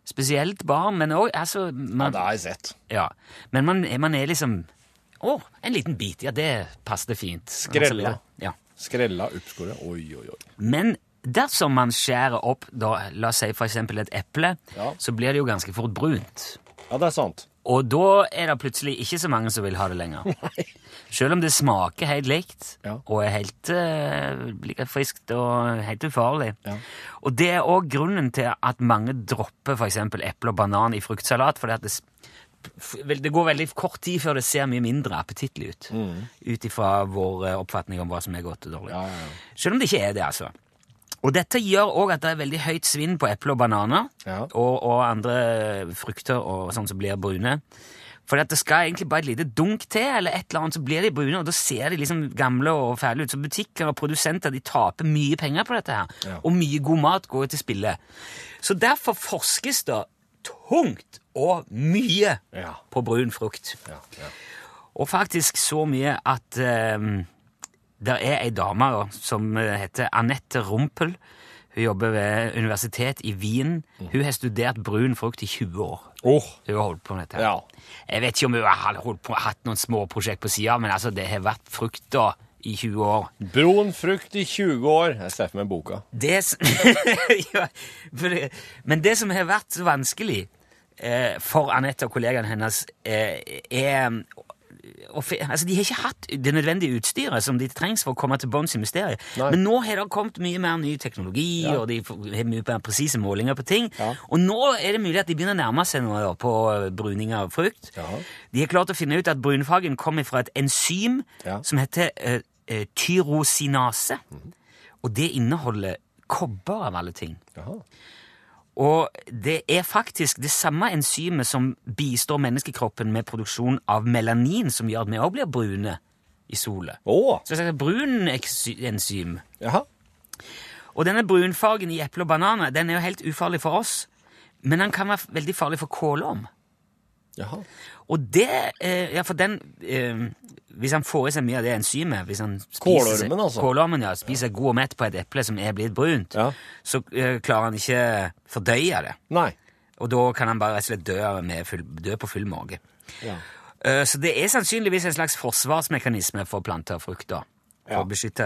C: spesielt barn, men òg altså, man,
B: Det har jeg sett.
C: ja. Men man, er- man er liksom Å, en liten bit. Ja, det passet fint.
B: Skrella.
C: Ja.
B: Skrella oppskåret. Oi, oi, oi.
C: Men dersom man skjærer opp, da, la oss si for eksempel et eple,
B: Ja.
C: så blir det jo ganske fort brunt.
B: Ja, det er sant.
C: Og da er det plutselig ikke så mange som vil ha det lenger. Selv om det smaker helt likt,
B: Ja.
C: og er helt eh, like friskt og helt ufarlig.
B: Ja.
C: Og det er også grunnen til at mange dropper for eksempel eple og banan i fruktsalat, fordi at det, s- f- vel, det går veldig kort tid før det ser mye mindre appetittlig ut, ut ifra vår eh, oppfatning om hva som er godt og dårlig.
B: Mm. Ja, ja, ja.
C: Selv om det ikke er det, altså. Og dette gjør òg at det er veldig høyt svinn på eple og bananer
B: Ja.
C: og, og andre frukter og sånn som blir brune. For det skal egentlig bare et lite dunk til, eller et eller annet, så blir de brune, og da ser de liksom gamle og fæle ut. Så butikker og produsenter de taper mye penger på dette her,
B: Ja.
C: og mye god mat går jo til spille. Så derfor forskes det tungt og mye
B: Ja.
C: på brun frukt.
B: Ja, ja.
C: Og faktisk så mye at um, det er ei dame da, som eh, heter Anette Rumpel. Hun jobber ved universitet i Wien. Hun har studert brun frukt i 20 år.
B: Åh,
C: Hun har holdt på med dette. her.
B: ja.
C: Jeg vet ikke om hun har holdt på, hatt noen små prosjekt på sida, men altså, det har vært frukta i 20 år.
B: Brun frukt i 20 år. Jeg ser for meg boka.
C: Det s- ja, for det, men det som har vært så vanskelig eh, for Anette og kollegaene hennes, eh, er å fi- altså, De har ikke hatt det nødvendige utstyret som de trengs for å komme til bunns i mysteriet.
B: Nei.
C: Men nå har det kommet mye mer ny teknologi,
B: Ja.
C: og de får- har mye mer presise målinger på ting.
B: Ja.
C: Og nå er det mulig at de begynner å nærme seg noe da, på eh, bruning av frukt.
B: Ja.
C: De har klart å finne ut at brunfargen kommer fra et enzym
B: Ja.
C: som heter eh, eh, tyrosinase. Og det inneholder kobber av alle ting.
B: Jaha.
C: Og det er faktisk det samme enzymet som bistår menneskekroppen med produksjon av melanin, som gjør at vi òg blir brune i sola.
B: Åh,
C: Så det er et brunenzym.
B: jaha.
C: Og denne brunfargen i eple og bananer den er jo helt ufarlig for oss, men den kan være veldig farlig for kålorm.
B: Jaha.
C: Og det eh, Ja, for den eh, Hvis han får i seg mye av det enzymet hvis han spiser, seg-
B: Kålormen, altså.
C: Kålormen, ja. Spiser god og mett på et eple som er blitt brunt,
B: Ja.
C: så eh, klarer han ikke fordøye det.
B: Nei.
C: Og da kan han bare rett og slett dø, med full, dø på full mage.
B: Ja.
C: Eh, Så det er sannsynligvis en slags forsvarsmekanisme for planter og frukter. For
B: Ja.
C: å beskytte,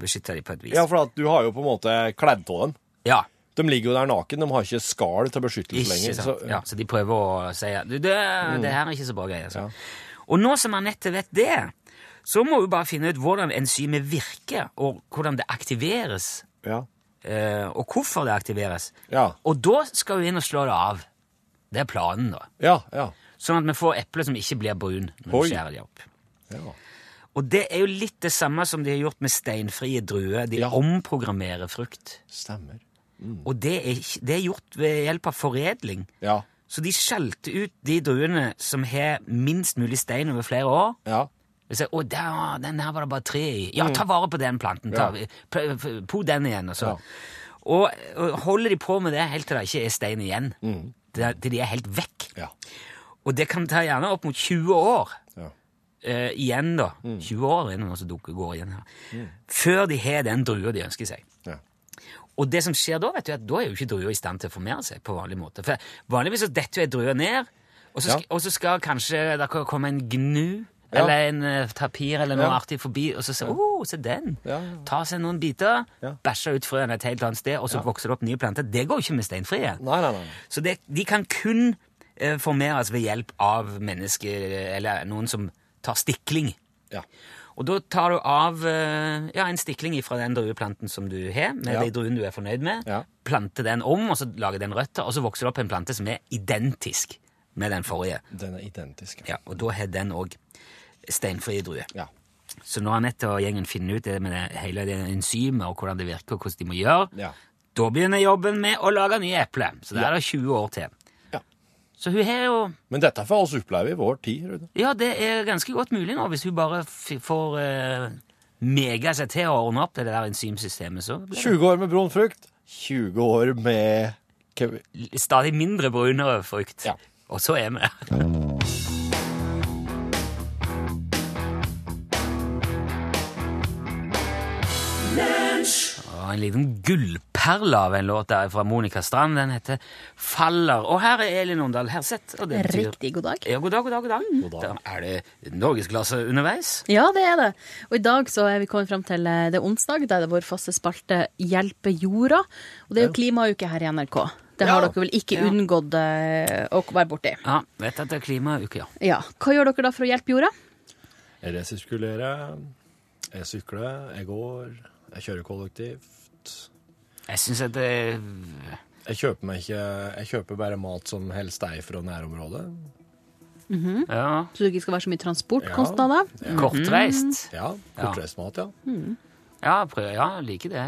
C: beskytte dem på et vis.
B: Ja, for at du har jo på en måte kledd av dem.
C: Ja,
B: De ligger jo der naken, de har ikke skall til beskyttelse
C: ikke
B: lenger.
C: sant?
B: Så,
C: ja, så de prøver å si at du, det, det her er ikke så bra greier. Altså.
B: Mm. Ja.
C: Og nå som Anette vet det, så må hun bare finne ut hvordan enzymet virker, og hvordan det aktiveres,
B: ja.
C: eh, og hvorfor det aktiveres.
B: Ja.
C: Og da skal hun inn og slå det av. Det er planen, da.
B: Ja, ja.
C: Sånn at vi får eple som ikke blir brun når
B: Oi.
C: vi skjærer de opp.
B: Ja.
C: Og det er jo litt det samme som de har gjort med steinfrie druer. De
B: Ja.
C: omprogrammerer frukt.
B: Stemmer.
C: Og det er, ikke- det er gjort ved hjelp av foredling.
B: Ja.
C: Så de skjelte ut de druene som har minst mulig stein over flere år.
B: Ja.
C: Og så, å, der, den her var det bare tre i. Ja, ta vare på den planten. Ta,
B: Mm. Ja.
C: pr- pr- Po den igjen, og så.
B: Ja.
C: Og, og holder de på med det helt til det ikke er stein igjen. Til, til de er helt vekk.
B: Mm. Ja.
C: Og det kan ta gjerne opp mot 20 år
B: Ja. Mm.
C: eh, igjen, da. 20 år er det noen som dukker går igjen her. Før de har den drua de ønsker seg.
B: Ja.
C: Og det som skjer da, vet du, er at da er jo ikke drua i stand til å formere seg på vanlig måte. For vanligvis så detter jo ei drue ned, og så,
B: Ja.
C: sk- og så skal kanskje det kan komme en gnu.
B: Ja.
C: Eller en eh, tapir eller noe
B: Ja.
C: artig forbi, og så sier oh, se den!
B: Ja, ja, ja.
C: Ta seg noen biter,
B: Ja.
C: bæsjer ut frøene et helt annet sted, og så vokser det opp nye planter. Det går jo ikke med steinfrie.
B: Nei, nei, nei.
C: Så det, de kan kun eh, formeres ved hjelp av mennesker, eller noen som tar stikling.
B: Ja.
C: Og da tar du av eh, ja, en stikling fra den drueplanten som du har, med
B: Ja.
C: de druene du er fornøyd med,
B: Ja.
C: planter den om, og så lager den røtter, og så vokser det opp en plante som er identisk med den forrige.
B: Den er identisk.
C: Ja, og da har den òg steinfrie druer.
B: Ja.
C: Så når Anette og gjengen finner ut det med det, hele det enzymet og hvordan det virker, og hvordan de må gjøre,
B: Ja.
C: Da begynner jobben med å lage nye epler. Så det er det 20 år til.
B: Ja.
C: Så hun har jo
B: Men dette får oss oppleve i vår tid, Rune.
C: Ja, det er ganske godt mulig nå, hvis hun bare f får eh, mega seg til å ordne opp det der enzymsystemet, så blir
B: 20 år med brun frukt. 20 år med Kev-
C: det stadig mindre brunere frukt.
B: Ja.
C: Og så er vi der. Og Ah, en liten gullperle av en låt der fra Monica Strand. Den heter 'Faller'. Og her er Elin Omdal Herseth. Og det betyr
H: Riktig god dag.
C: Ja, god dag, god dag, god dag. Da er det norgesklasse underveis.
H: Ja, det er det. Og i dag så er vi kommet fram til eh, det er onsdag, der det er vår faste spalte Hjelpe jorda. Og det er jo klimauke her i NRK. Det har dere vel ikke unngått eh, å være borti.
C: Ja, vet at det er klimauke, ja.
H: Ja. Hva gjør dere da for å hjelpe jorda?
B: Jeg resirkulerer, jeg sykler, jeg går, jeg kjører kollektivt.
C: Jeg syns at det
H: Mm.
B: Jeg kjøper, meg ikke, jeg kjøper bare mat som helst er fra nærområdet.
C: Ja.
H: Så det ikke skal være så mye transportkostnader?
C: Kortreist.
B: Ja, kortreist mat, ja.
H: Mm.
C: Ja, prøv, ja, liker det.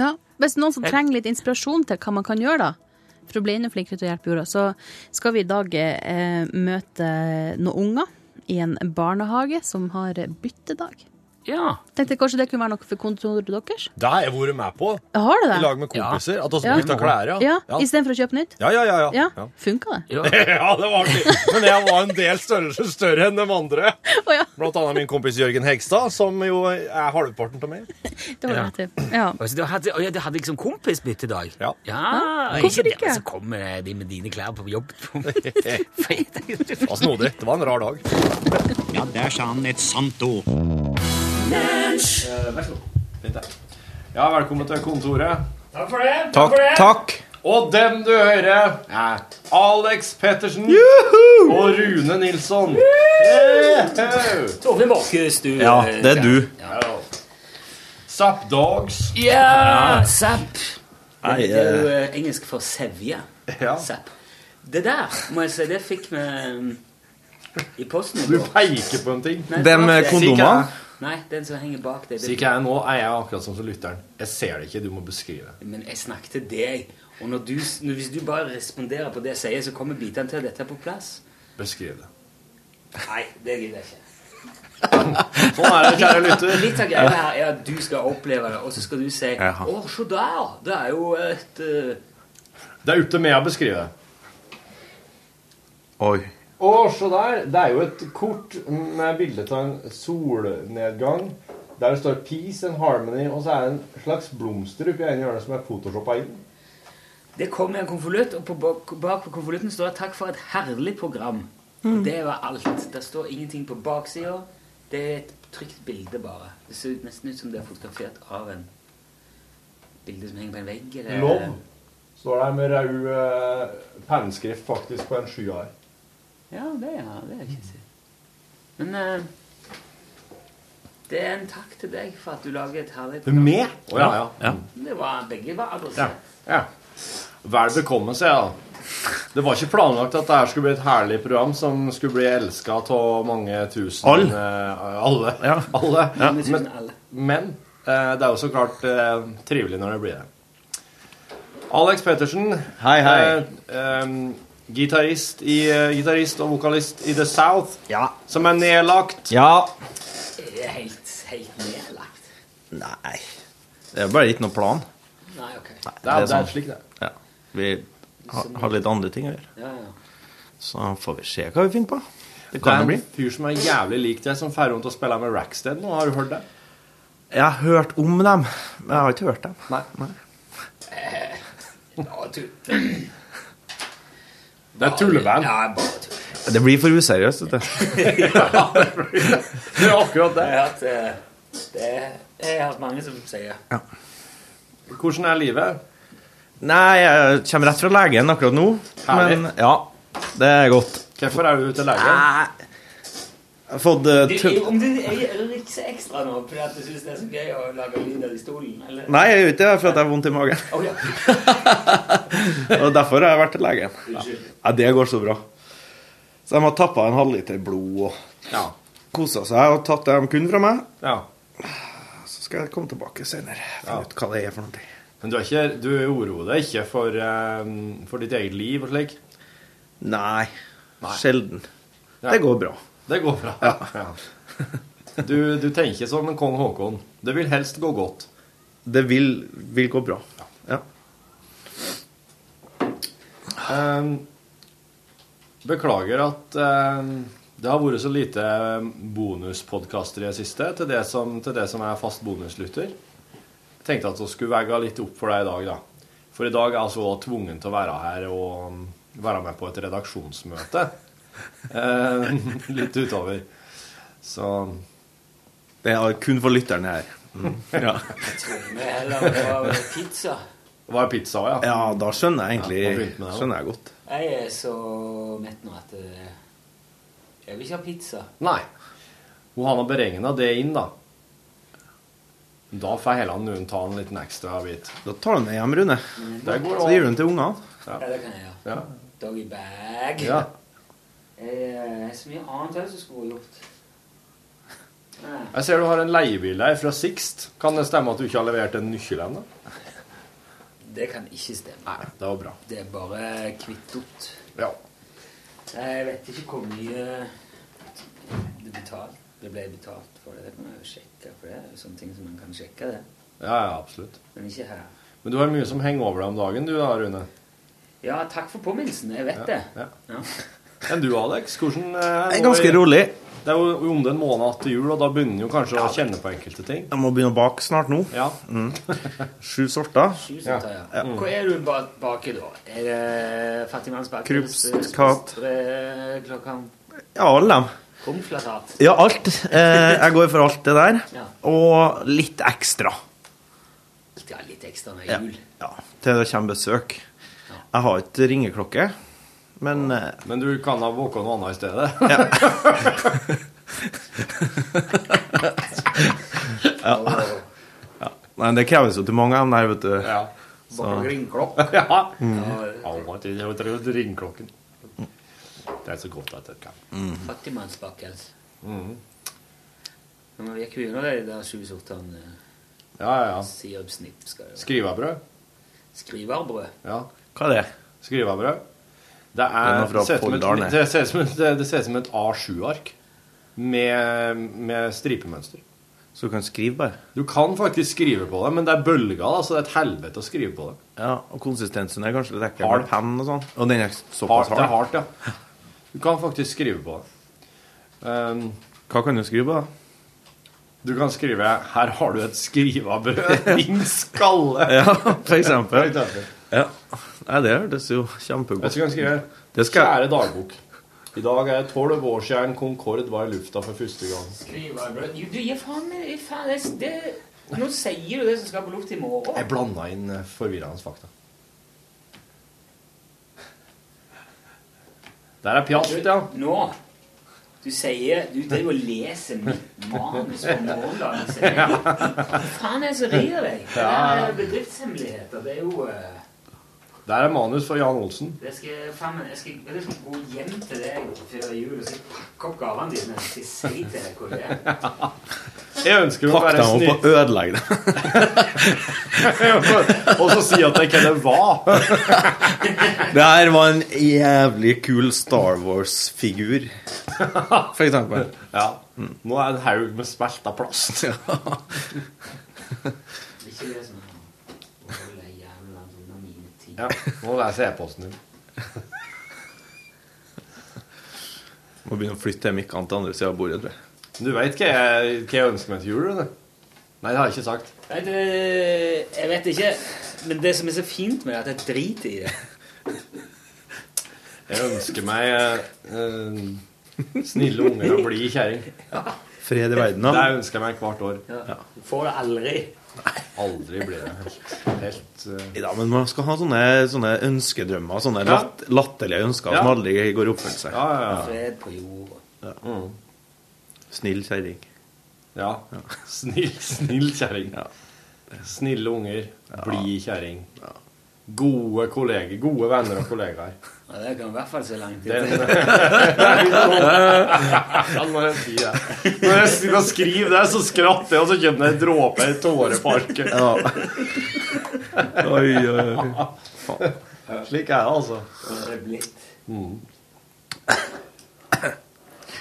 H: Ja. Hvis noen som trenger litt inspirasjon til hva man kan gjøre, da, for å bli enda flinkere til å hjelpe jorda, så skal vi i dag eh, møte noen unger i en barnehage som har byttedag.
C: Ja.
H: Tenkte jeg kanskje det kunne være noe for kontoret deres?
B: Det har jeg vært med på,
H: Har det det?
B: i lag med kompiser. At vi
H: Ja.
B: bytta klær,
H: Ja,
B: ja. Ja,
H: istedenfor å kjøpe nytt?
B: ja, ja. ja,
H: Ja,
B: ja. ja.
H: funka det?
C: Jo.
B: Ja, det var artig. Men jeg var en del størrelse større enn de andre.
H: Å ja,
B: Blant annet min kompis Jørgen Hegstad, som jo er halvparten av meg.
H: det var
C: Ja.
H: rett. Ja.
C: Og så Du Altså, hadde, å ja, du hadde liksom kompisbytte i dag?
B: Ja.
H: hvorfor
C: det,
H: ikke?
C: men Så kommer de med dine klær på jobb. på-
B: Det var snodig. Det var en rar dag.
D: Ja, der sa han et sant ord.
B: Eh, Vær så god. Fint, det. Ja, velkommen til kontoret. Takk for det. Takk, for det. Og dem du hører, er Alex Pettersen og Rune Nilsson. Yeah.
C: Tove Markus, du eh,
D: det er du.
B: Zap Dogs.
C: Ja! Zapp.
D: Nei,
C: Det er jo eh, engelsk for sevje.
B: Ja.
C: Zapp. Det der, må jeg si, det fikk vi eh, i posten i
B: Du
C: går.
B: peker på en ting.
C: Nei,
D: Dem
C: det var
D: med
C: ikke det.
D: eh, kondom- Kondomer?
C: Nei, den som henger bak deg.
B: Sier
C: det-
B: ikke jeg nå, er jeg akkurat sånn som lytteren. Jeg ser det ikke, du må beskrive.
C: Men jeg snakket til deg, og når du, s- når, hvis du bare responderer på det jeg sier, så kommer bitene til at dette er på plass.
B: Beskriv det.
C: Nei, det gidder jeg ikke.
B: Sånn er det, kjære lytter.
C: Litt av greia her er at du skal oppleve det, og så skal du si
D: Jaha.
C: 'Å, se der! Det er jo et eh,
B: Det er opp til meg å beskrive det.
D: Oi.
B: Å, se der. Det er jo et kort med bilde av en solnedgang. Der det står 'Peace and Harmony', og så er det en slags blomster oppi ene hjørnet som er photoshoppa inn.
C: Det kom i en konvolutt, og på, bak bak på konvolutten står det 'Takk for et herlig program'. Og det var alt. Det står ingenting på baksida. Det er et trygt bilde, bare. Det ser ut nesten ut som det er fotografert av en bilde som henger på en vegg. Eller,
B: Love står der med rød eh, pennskrift faktisk på en sky her.
C: Ja, det er det er ikke sikkert. Men eh, det er en takk til deg for at du lager et herlig program.
B: Med? Å ja, ja.
C: Det var, begge var adressert.
B: ja. Vel bekomme, sier jeg da. Det var ikke planlagt at dette skulle bli et herlig program som skulle bli elska av mange tusen
D: All.
B: eh, alle.
D: Ja.
B: alle.
C: Men, alle.
B: Men eh, det er jo så klart eh, trivelig når det blir det. Alex Pettersen.
D: Hei, hei.
B: Eh, em, gitarist, i, eh, gitarist og vokalist i The South,
D: Ja.
B: som er nedlagt.
D: Ja.
C: Det er helt, helt nedlagt.
D: Nei. Det er bare ikke noe plan.
C: Nei, ok.
B: Det er, det er
D: sånn.
B: slik det er.
D: Ja. Vi har, har litt andre ting å gjøre.
C: Ja, ja.
D: Så får vi se hva vi finner på. Det
B: Det
D: kan
B: er
D: det bli.
B: en fyr som er jævlig lik deg, som fer rundt og spiller med Rackstead nå. Har du hørt det?
D: Jeg har hørt om dem, men jeg har ikke hørt dem.
B: Nei.
C: Å, du.
B: Det er tulleband.
C: Ja, bare tull.
D: Det blir for useriøst, vet du.
B: Det er akkurat det.
C: Jeg har hatt, eh, det er- jeg har hatt mange som sier
B: Hvordan er livet?
D: Nei, jeg kommer rett fra legen akkurat nå.
B: Herlig.
D: Men ja, det er godt.
B: Hvorfor er du til legen?
D: Nei. Jeg har fått eh,
C: du,
D: tull...
C: Om du rikser ekstra nå fordi at du syns det er så gøy å lage lyd av i stolen, eller?
D: Nei, jeg er ute for at jeg har vondt i magen.
C: Å, ja.
D: Og derfor har jeg vært til legen.
C: Unnskyld.
D: Nei, det går så bra. Så de har tappa en halvliter blod og
B: Ja.
D: kosa seg og tatt det de kunne fra meg.
B: ja.
D: Så skal jeg komme tilbake senere og finne ut hva det er for noe.
B: Men du, er ikke, du oroer deg ikke for, eh, for ditt eget liv og slik?
D: Nei. Sjelden. Det går bra.
B: Det går bra. Ja. Du, du tenker sånn som en kong Haakon. Det vil helst gå godt.
D: Det vil, vil gå bra. Ja.
B: Eh, beklager at eh, det har vært så lite bonuspodkaster i det siste til det som, til det som er fast bonuslytter. Jeg tenkte at vi skulle vegge litt opp for deg i dag, da. For i dag er jeg altså tvungen til å være her og mm, være med på et redaksjonsmøte eh, litt utover. Så
D: Det er kun for lytterne her. Mm. Ja.
C: Vi heller får pizza.
B: Var det pizza òg, ja?
D: ja, da skjønner jeg egentlig
B: Ja, da begynte vi med det, da.
D: skjønner jeg godt.
C: Jeg er så mett nå at eh, jeg vil ikke ha pizza.
B: Nei. Hun har beregna det inn, da. Da får Helland noen ta en liten ekstra bit.
D: Da tar du den hjem, Rune.
B: Det går
D: Så gir du den til ungene.
C: Ja, det kan jeg gjøre.
B: Ja.
C: Doggy bag.
B: ja.
C: Jeg eh, er så mye annet jeg skulle gjort. Nei.
B: Jeg ser du har en leiebil der fra Sixt. Kan det stemme at du ikke har levert en nøkkel ennå?
C: Det kan ikke stemme.
B: Nei, det var bra.
C: Det er bare kvittot.
B: Ja.
C: Nei, Jeg vet ikke hvor mye det, betalt. det ble betalt for det. Det kan jeg jo sjekke, for det er jo sånne ting som man kan sjekke, det.
B: Ja, ja, absolutt.
C: Men ikke her.
B: Men du har mye som henger over deg om dagen, du da, Rune.
C: Ja, takk for påminnelsen. Jeg vet det.
B: Ja.
C: Ja.
B: Enn du, Alex? Hvordan eh,
D: Jeg
B: nå
D: er ganske
B: i-
D: rolig.
B: Det er jo om det er en måned til jul, og da begynner du kanskje å kjenne på enkelte ting.
D: Jeg må begynne å bake snart nå. Mm.
B: Ja.
D: Sju sorter.
C: Sju som tar, ja. Hva er du ba- baki da? Er det eh, fattigmannsbakelse?
D: Krups, kat.
C: Klokkan
D: Ja, alle dem.
C: Komflatat.
D: Ja, alt. Eh, jeg går for alt det der.
C: Ja.
D: Og litt ekstra.
C: Ja, litt ekstra med
D: Ja.
C: jul.
D: ja. Til det kommer besøk. Jeg har ikke ringeklokke, men eh,
B: Men du kan ha våken noe annet i stedet.
C: Og
D: Nei, det kreves jo til mange av dem der, vet du.
B: Ja.
C: bare ringklokk.
B: ja.
C: Og eh,
B: Alle til- jeg tror det er Ringeklokken. Det er så godt at det kan.
C: fattigmannsbakkels. altså.
B: Mm.
C: Men vi gikk jo gjennom de der sju sortene eh,
B: Ja, ja, ja.
C: sirupsnipp. skal det være.
B: Skrivebrød.
C: Skriverbrød.
B: Ja.
D: Hva er det?
B: Skrivebrød. Det
D: Den
B: er
D: er fra
B: det ser ut som et-
D: Folldalen,
B: det ser ut som et- det ser ut som et A7-ark med, med stripemønster.
D: Så du kan skrive, bare.
B: Du kan faktisk skrive på det, men det er bølger, da, så det er et helvete å skrive på det.
D: Ja, Og konsistensen er kanskje litt ekkel
B: Hard.
D: med penn og sånn. Og den er såpass
B: Hardt, det er hardt,
D: hard.
B: ja. Du kan faktisk skrive på det. Um,
D: Hva kan du skrive på, da?
B: du kan skrive 'Her har du et skrivebrød, din skalle'.
D: Ja, for eksempel.
B: For eksempel.
D: Ja. Nei, det hørtes jo
B: Vet
D: kjempegodt
B: du hva han skriver?
D: Det skal-
B: Kjære dagbok. I dag er det tolv år siden Concorde var i lufta for første gang.
C: Skriverbrød. Du, du gir faen meg gir faen, det, det, Nå sier du det som skal på luft i
B: Jeg
C: morgen.
B: blanda inn eh, forvirrende fakta. Der er pjatt, ja.
C: Nå. Du sier Du driver og leser mitt manus på morgendagen. sier jeg. Hva faen er det som rir deg? Det
B: Ja.
C: er bedriftshemmeligheter. Det er jo eh,
B: Der er manus for Jan Olsen.
C: det skal, jeg- faen, meg, jeg skal jeg skal gå hjem til deg før jul og så pakke opp gavene dine. Så jeg sier til deg hvor det er.
B: Jeg ønsker å
D: Pakk
B: være
D: dem opp
B: snill.
D: og ødelegg dem.
B: Og så si at det ikke det var.
D: Det her var en jævlig kul Star Wars-figur, for eksempel.
B: Ja. Nå er det en haug med smelta plast.
C: Ikke det som er Å, det er jævla unna mine ting.
B: Ja. Nå leser jeg e-posten din.
D: Må begynne å flytte mikkene til andre sida av bordet, tror jeg.
B: Du veit hva, jeg- hva jeg ønsker meg til jul? Eller? Nei, det har jeg ikke sagt.
C: Nei, det, jeg vet ikke. Men det som er så fint med det, er at jeg driter i det.
B: Jeg ønsker meg eh, eh, snille unger og blid kjerring.
D: Fred i verden,
B: Det
D: da.
B: ønsker jeg meg hvert år.
C: Du får det aldri.
B: Aldri blir det helt, helt eh,
D: Ja, men man skal ha sånne, sånne ønskedrømmer, sånne
B: Ja.
D: latt, latterlige ønsker
B: Ja.
D: som aldri går i oppfyllelse.
B: Ja, ja, ja.
C: Fred på jorda.
D: Snill kjerring.
B: Ja. Snill, snill kjerring. Snille unger. Blid kjerring. Gode kolleger. Gode venner og kollegaer.
C: Ja, det kan i hvert fall se langt
B: Den,
C: ut.
B: Ja, når jeg sier det. Når jeg sitter og skriver det, så skratter jeg, og så kommer det en dråpe i tåreparken.
D: Ja.
B: Oi, oi, oi. Faen. Slik er det, altså.
K: Det er blitt.
B: Mm.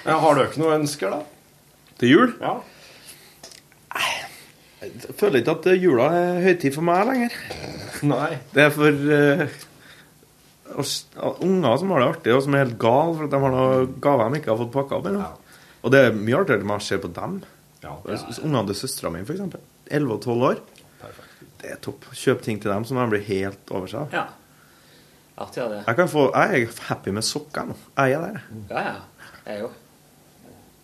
B: Ja, har dere noen ønsker, da?
D: Til jul?
B: Ja.
D: Jeg føler ikke at jula er høytid for meg lenger.
B: Nei.
D: Det er for eh, oss- unger som har det artig, og som er helt gal for at de har noen gaver de ikke har fått pakka opp ennå. Og det er mye artigere med å se på dem. S- s- Ungene til søstera mi, f.eks. 11 og 12 år. Det er topp. Kjøp ting til dem som de blir helt over seg.
C: Ja. Artig av det.
D: Jeg, kan få, jeg er happy med sokker nå. Jeg er der. jeg.
C: Ja, ja. Jeg er jo.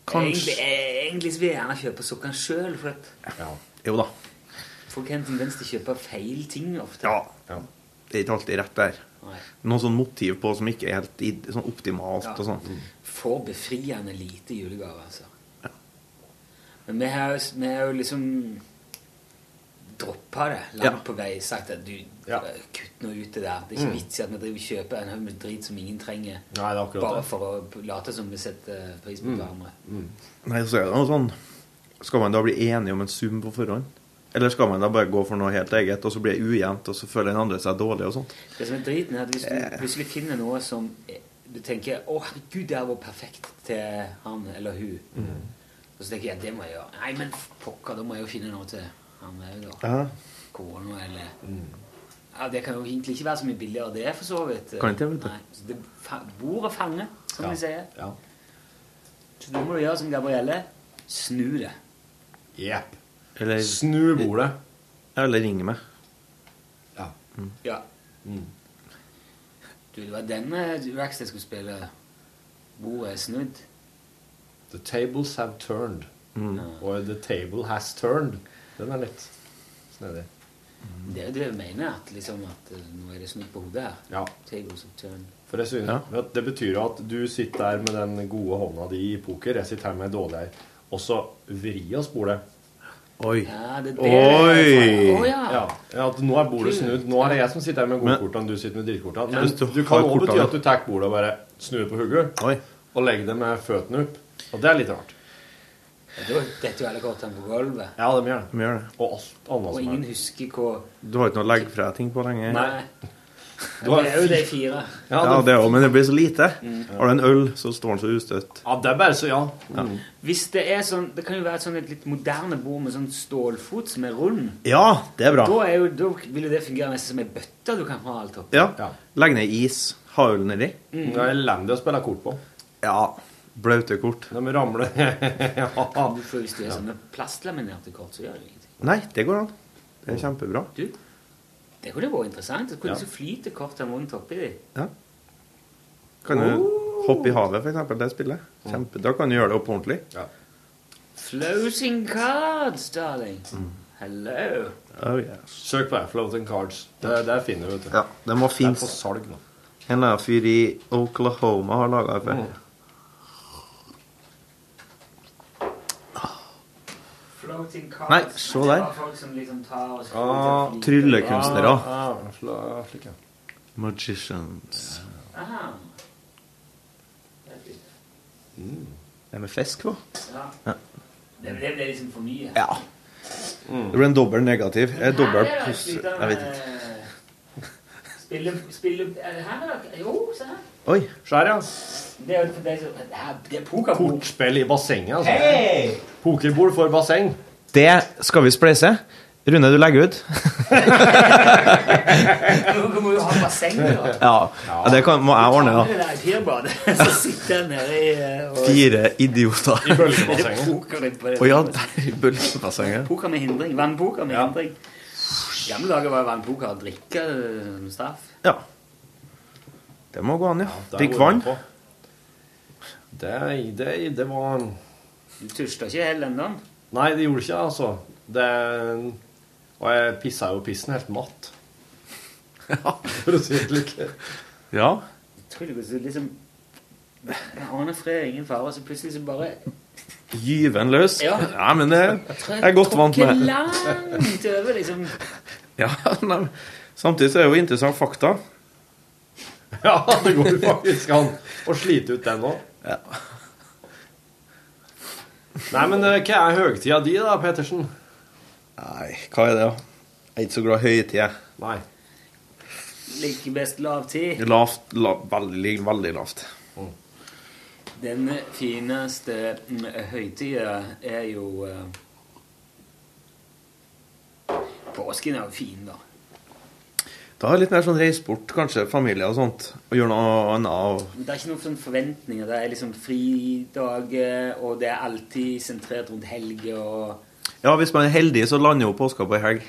D: Kanskje-
C: Egentlig, jeg- egentlig så vil jeg gjerne kjøpe sokkene sjøl, for at
D: Jo da.
C: folk har en tendens til å kjøpe feil ting ofte.
D: Ja. Det er ikke alltid rett der.
C: Nei.
D: Noe sånn motiv på som ikke er helt id- sånn optimalt
C: Ja.
D: og sånn.
C: Får befriende lite julegave, altså. Men vi har, jo- vi har jo liksom droppa det langt
D: Ja.
C: på vei. Sagt at du, kutt nå ut det der. Det er
D: Mm.
C: ikke vits i at vi driver og kjøper en haug med drit som ingen trenger.
D: Nei, det er akkurat
C: bare
D: det. Mm.
C: for å late som vi setter eh, pris på hverandre.
D: Nei, så er det noe sånn Skal man da bli enige om en sum på forhånd? Eller skal man da bare gå for noe helt eget, og så blir det ujevnt, og så føler den andre seg dårlig og sånt? Eh.
C: Det som er driten, er at hvis du plutselig finner noe som eh, du tenker 'Å, herregud, det her var perfekt til han eller hun',
D: Mm.
C: og så tenker jeg 'det må jeg gjøre'. Nei, men pokker, da må jeg jo finne noe til han òg, da.
D: Ja. Mm.
C: Kona eller Ja, Det kan jo egentlig ikke være så mye billigere, det, for så vidt.
D: Kan ikke det, vet du.
C: Nei, så det fa- Bordet fanger, som
D: Ja.
C: de sier.
B: Ja.
C: Så da må du gjøre som Gabrielle. Snu det.
B: Jepp.
D: Eller
B: Snu bordet.
D: Eller ring meg.
C: Ja. Mm. Du, det var denne Rackstead skulle spille. Bordet er snudd.
B: The tables have turned. Og the table has turned. Den er litt snedig.
D: Mm.
C: Det er jo det jeg mener, at, liksom, at eh, nå er det snudd på hodet her.
B: Ja.
C: Tables of turn.
B: For jeg synes at Det betyr jo at du sitter der med den gode hånda di i poker, jeg sitter her med en dårlig ei, og så vri oss bordet.
D: Oi.
C: Ja, det er det.
D: Oi!
C: Å, ja.
B: Ja, at Nå er bordet
C: Kult.
B: snudd. Nå er det jeg som sitter her med
D: Men-
B: godkortene, du sitter med drittkortene.
D: Ja,
B: Men
D: hvis du
B: du kan
D: har
B: også bety
D: kortene.
B: at du tar bordet og bare snur på hodet og legger det med føttene opp. Og det er litt rart.
C: Ja, Da detter jo alle kortene på gulvet.
B: Ja, de gjør det.
D: De gjør det.
B: Og alt annet
C: Og
B: som
C: ingen
B: er
C: husker hva
D: Du har ikke noe å legge fra deg ting på lenger?
C: Nei.
B: Du har-
C: Det er jo de fire.
D: Ja, det òg, men det blir så lite. Har du en øl, så står den så ustøtt.
B: Ja, det er bare så ja.
C: Hvis det er sånn Det kan jo være sånn et litt moderne bord med sånn stålfot som er rund.
D: Ja, det er bra.
C: Da, er jo, da vil jo det fungere nesten som ei bøtte du kan ha alt oppi.
D: Ja. Legg ned is. Ha øl nedi.
C: Mm.
B: Det er elendig å spille kort på.
D: Ja. Blaute kort.
B: De ramler. ja.
C: Du får- Hvis du sånn har sånne plastlaminerte kort, så gjør det ingenting.
D: Nei, det går an. Det er kjempebra.
C: Det kunne vært interessant. Det kunne så
D: Ja.
C: flyte kortene rundt oppi dem.
D: Kan du hoppe i havet, for eksempel, det spillet. Kjempe. Da kan du gjøre det opp på ordentlig.
C: Floating cards, darling. Hello.
D: Oh, yeah.
B: Søk på Afloat and Cards. Det, det finner du, vet du.
D: Ja, den må
B: det er
D: finnes.
B: på salg nå.
D: En eller annen fyr i Oklahoma har laga det før.
C: Floating cards.
D: Nei, se
C: Det
D: der.
C: var folk som liksom tar og
D: Ah,
C: flyter.
D: Tryllekunstnere.
B: Ah, fla- slik, ja.
D: Magicians.
C: Ah.
D: Det er med fisk på.
C: Ja. Det ble, det ble liksom for mye.
D: Ja. Det blir en dobbel negativ. Eh,
C: Her
D: dobbel
C: er det
D: pos-
C: flytende-
D: Jeg vet ikke.
C: Spille, spille er det her, er det- Jo, se her.
D: Oi.
B: Skjær, ja.
C: Det er jo for deg som det her- Det er pokerbord.
B: Kortspill i bassenget, altså. Pokerbord for basseng.
D: Det skal vi spleise. Rune, du legger ut?
C: Du må jo ha basseng, da.
D: Ja. ja det kan, må jeg ordne,
C: Det
D: da.
C: der pirbadet. Så sitter jeg nede i eh, og
D: Fire idioter.
B: I bølgebassenget.
C: poker litt på det.
D: Å ja, der i bølgebassenget.
C: Poker med hindring. Vannpoker med hindring. I gamle dager var vannpoker å drikke eh, som straff.
D: Ja. Det må gå an, ja.
B: Der
D: Drikk
B: går
D: vann.
B: det på. Det, det, det var
C: Du tusla ikke helt ennå.
B: Nei, det gjorde ikke det, altså. Det Og jeg pissa jo pissen helt matt. For å si det slik.
D: Ja.
C: Utrolig hvordan du liksom Jeg aner fred, ingen fare, og så plutselig så bare
D: Gyven løs.
C: Ja.
D: Ja, men det jeg er godt vant
C: tråkker
D: med.
C: langt over, liksom.
D: Ja, nei. Samtidig så er det jo interessant fakta.
B: Ja, det går faktisk an å slite ut den òg. Nei, men eh, hva er høgtida di, da, Pettersen?
D: Nei, hva er det, da? Jeg er ikke så glad i høytid. Nei.
C: Ligger best lavtid.
D: Lavt, la- veldig, veldig lavt.
C: Den fineste mm, høytida er jo eh, Påsken er jo fin, da.
D: Da er det litt mer sånn reise bort, kanskje, familie og sånt, og gjøre noe annet. og-
C: Men Det er ikke noen sånn forventninger. Det er liksom fridager, og det er alltid sentrert rundt helg og
D: Ja, hvis man er heldig, så lander jo påska på ei helg.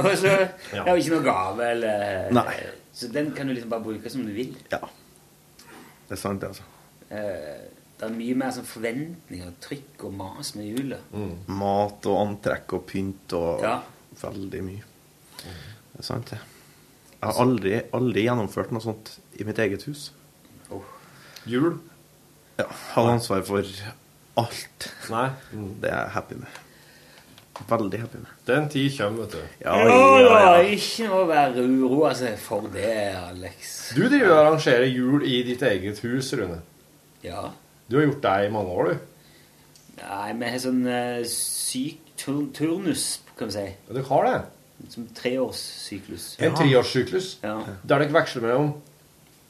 C: Og så er jo ikke noe gave eller
D: Nei.
C: Så den kan du liksom bare bruke som du vil.
D: Det er sant, det, altså.
C: Eh, Det er mye mer sånn forventninger og trykk og mas med jula.
D: Mat og antrekk og pynt og
C: Ja.
D: veldig mye. Det er sant, det. Jeg har aldri, aldri gjennomført noe sånt i mitt eget hus. Jul? Ja. Hadde ansvar for alt. Nei. Det er jeg happy med. Veldig happy med. Den tid kommer, vet du. Ja, ja, ja.
C: ikke noe å være uroa seg for det, Alex.
B: Du driver jo og arrangerer jul i ditt eget hus, Rune.
C: Ja.
B: Du har gjort det i mange år, du.
C: Nei, vi har sånn eh, syk tur turnus, kan vi si.
B: Ja, dere har det?
C: Som treårssyklus.
B: En treårssyklus
C: Ja.
B: der dere veksler mellom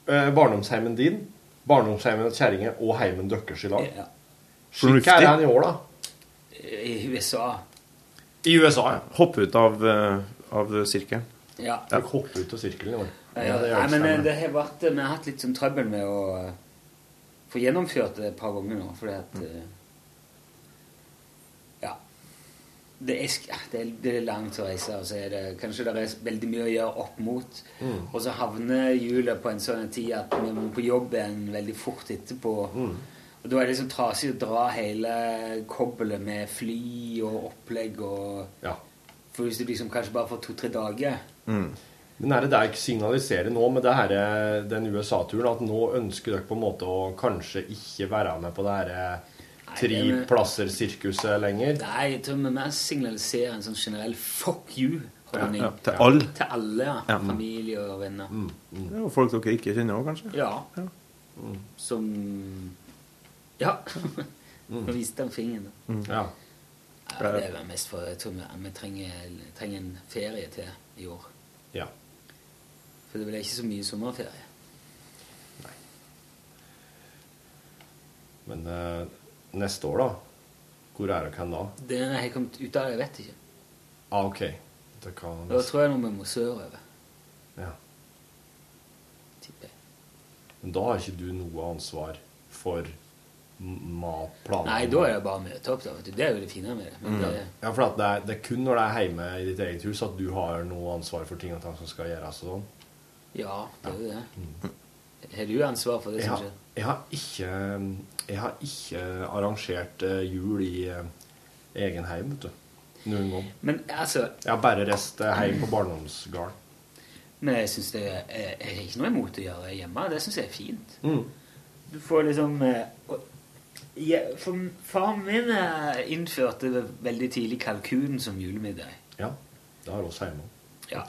B: eh, barndomsheimen din, barndomsheimen til kjerringa og heimen deres i lag.
C: Ja.
B: Slik er den i år, da.
C: I USA.
D: I USA, ja. Hoppe ut av, eh, av sirkelen.
C: Ja.
D: Dere
B: hopper ut av sirkelen i år.
C: Ja, ja. Nei, men eh, det har vært, eh, vi har hatt litt sånn trøbbel med å eh, få gjennomført det et par ganger nå, fordi at eh, Ja. Det er, sk- det er, det er langt å reise, og så er det kanskje det er veldig mye å gjøre opp mot. Og så havner jula på en sånn tid at vi må på jobb igjen veldig fort etterpå. Og da er det liksom trasig å dra hele kobbelet med fly og opplegg og For hvis du liksom kanskje bare får to-tre dager
B: Men er det der jeg signaliserer nå med det her, eh, den USA-turen, at nå ønsker dere på en måte å kanskje ikke være med på det her eh, tre
C: det er-
B: plasser-sirkuset lenger?
C: Nei, jeg tror vi mer signaliserer en sånn generell 'fuck you'-holdning.
D: Ja, ja, til alle.
C: Til alle, ja.
D: Ja.
C: Familie og venner.
D: Det er jo folk dere ikke kjenner òg, kanskje.
C: Ja. Mm. Som Ja. Nå viste han fingeren. da.
D: Mm.
B: Ja.
C: Ja, det er vel mest for Jeg tror vi, vi trenger, trenger en ferie til i år.
B: Ja.
C: For det er vel ikke så mye sommerferie.
B: Men eh, neste år, da? Hvor er dere hen da?
C: Det er helt kommet ut av det, jeg vet ikke.
B: Ah, OK. Dere kan
C: Da tror jeg nå vi må sørover.
B: Ja.
C: Tipper jeg.
B: Men da har ikke du noe ansvar for m- matplanen?
C: Nei, da er det bare å møte opp, da. vet du. Det er jo det fine med det. Men
B: Mm.
C: det
B: Ja, for at det, er, det er kun når det er hjemme i ditt eget hus at du har noe ansvar for ting og tang som skal gjøres og sånn.
C: ja, det er jo det. Har du ansvar for det
B: Jeg
C: som
B: har,
C: skjer?
B: jeg har ikke Jeg har ikke arrangert eh, jul i eh, egen heim, vet du. Noen gang.
C: Men altså
B: Jeg har bare reist eh, hjem på barndomsgården.
C: Men jeg synes det er, jeg har ikke noe imot å gjøre det hjemme. Det syns jeg er fint.
B: Mm.
C: Du får liksom eh, og- ja, for Faren min eh, innførte veldig tidlig kalkun som julemiddag.
B: Ja. Det har oss hjemme
C: Ja.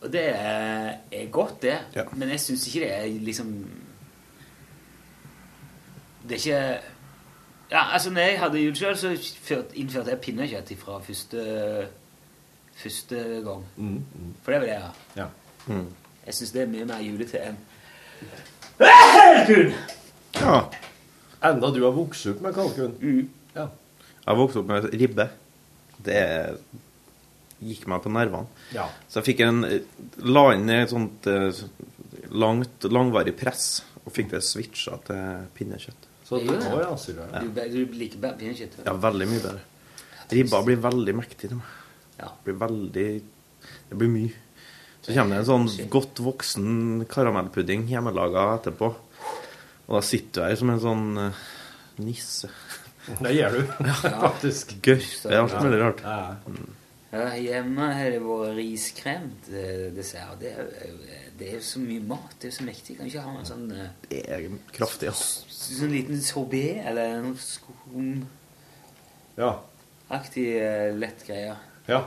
C: Og det er, er godt, det. Men jeg syns ikke det er liksom Det er ikke Ja, altså, når jeg hadde jul sjøl, så ført- innførte jeg pinnekjøtt fra første, første gang.
B: Mm,
C: For det var det jeg har.
B: Ja.
C: Jeg syns det er mye mer julete enn
D: Ja.
B: Enda du har vokst opp med kalkun.
C: Mm.
B: Ja.
D: Jeg vokste opp med ribbe. Det gikk meg på nervene.
B: Ja.
D: Så jeg fikk en la inn et sånt eh, langt, langvarig press, og fikk det switcha til pinnekjøtt.
B: Så
C: Jo,
B: det
C: ja.
B: var jo altså det.
C: Sånn. Du, be- du liker bare pinnekjøtt.
D: Ja, veldig mye bedre. Ribba blir veldig mektig til meg.
C: Ja.
D: Blir veldig Det blir mye. Så kommer det en sånn godt voksen karamellpudding hjemmelaga etterpå. Og da sitter du her som en sånn eh, nisse.
B: Det gjør du, faktisk.
D: Gørpe alt mulig rart.
B: Ja.
C: Ja, hjemme har det vært riskrem til dessert. Det er, jo- det er jo så mye mat. Det er jo så mektig. Kan ikke ha en sånn, eh,
D: Det er kraftig, ass.
C: sånn liten sorbé eller noe skumaktig
B: Ja.
C: eh, lett greie.
B: ja.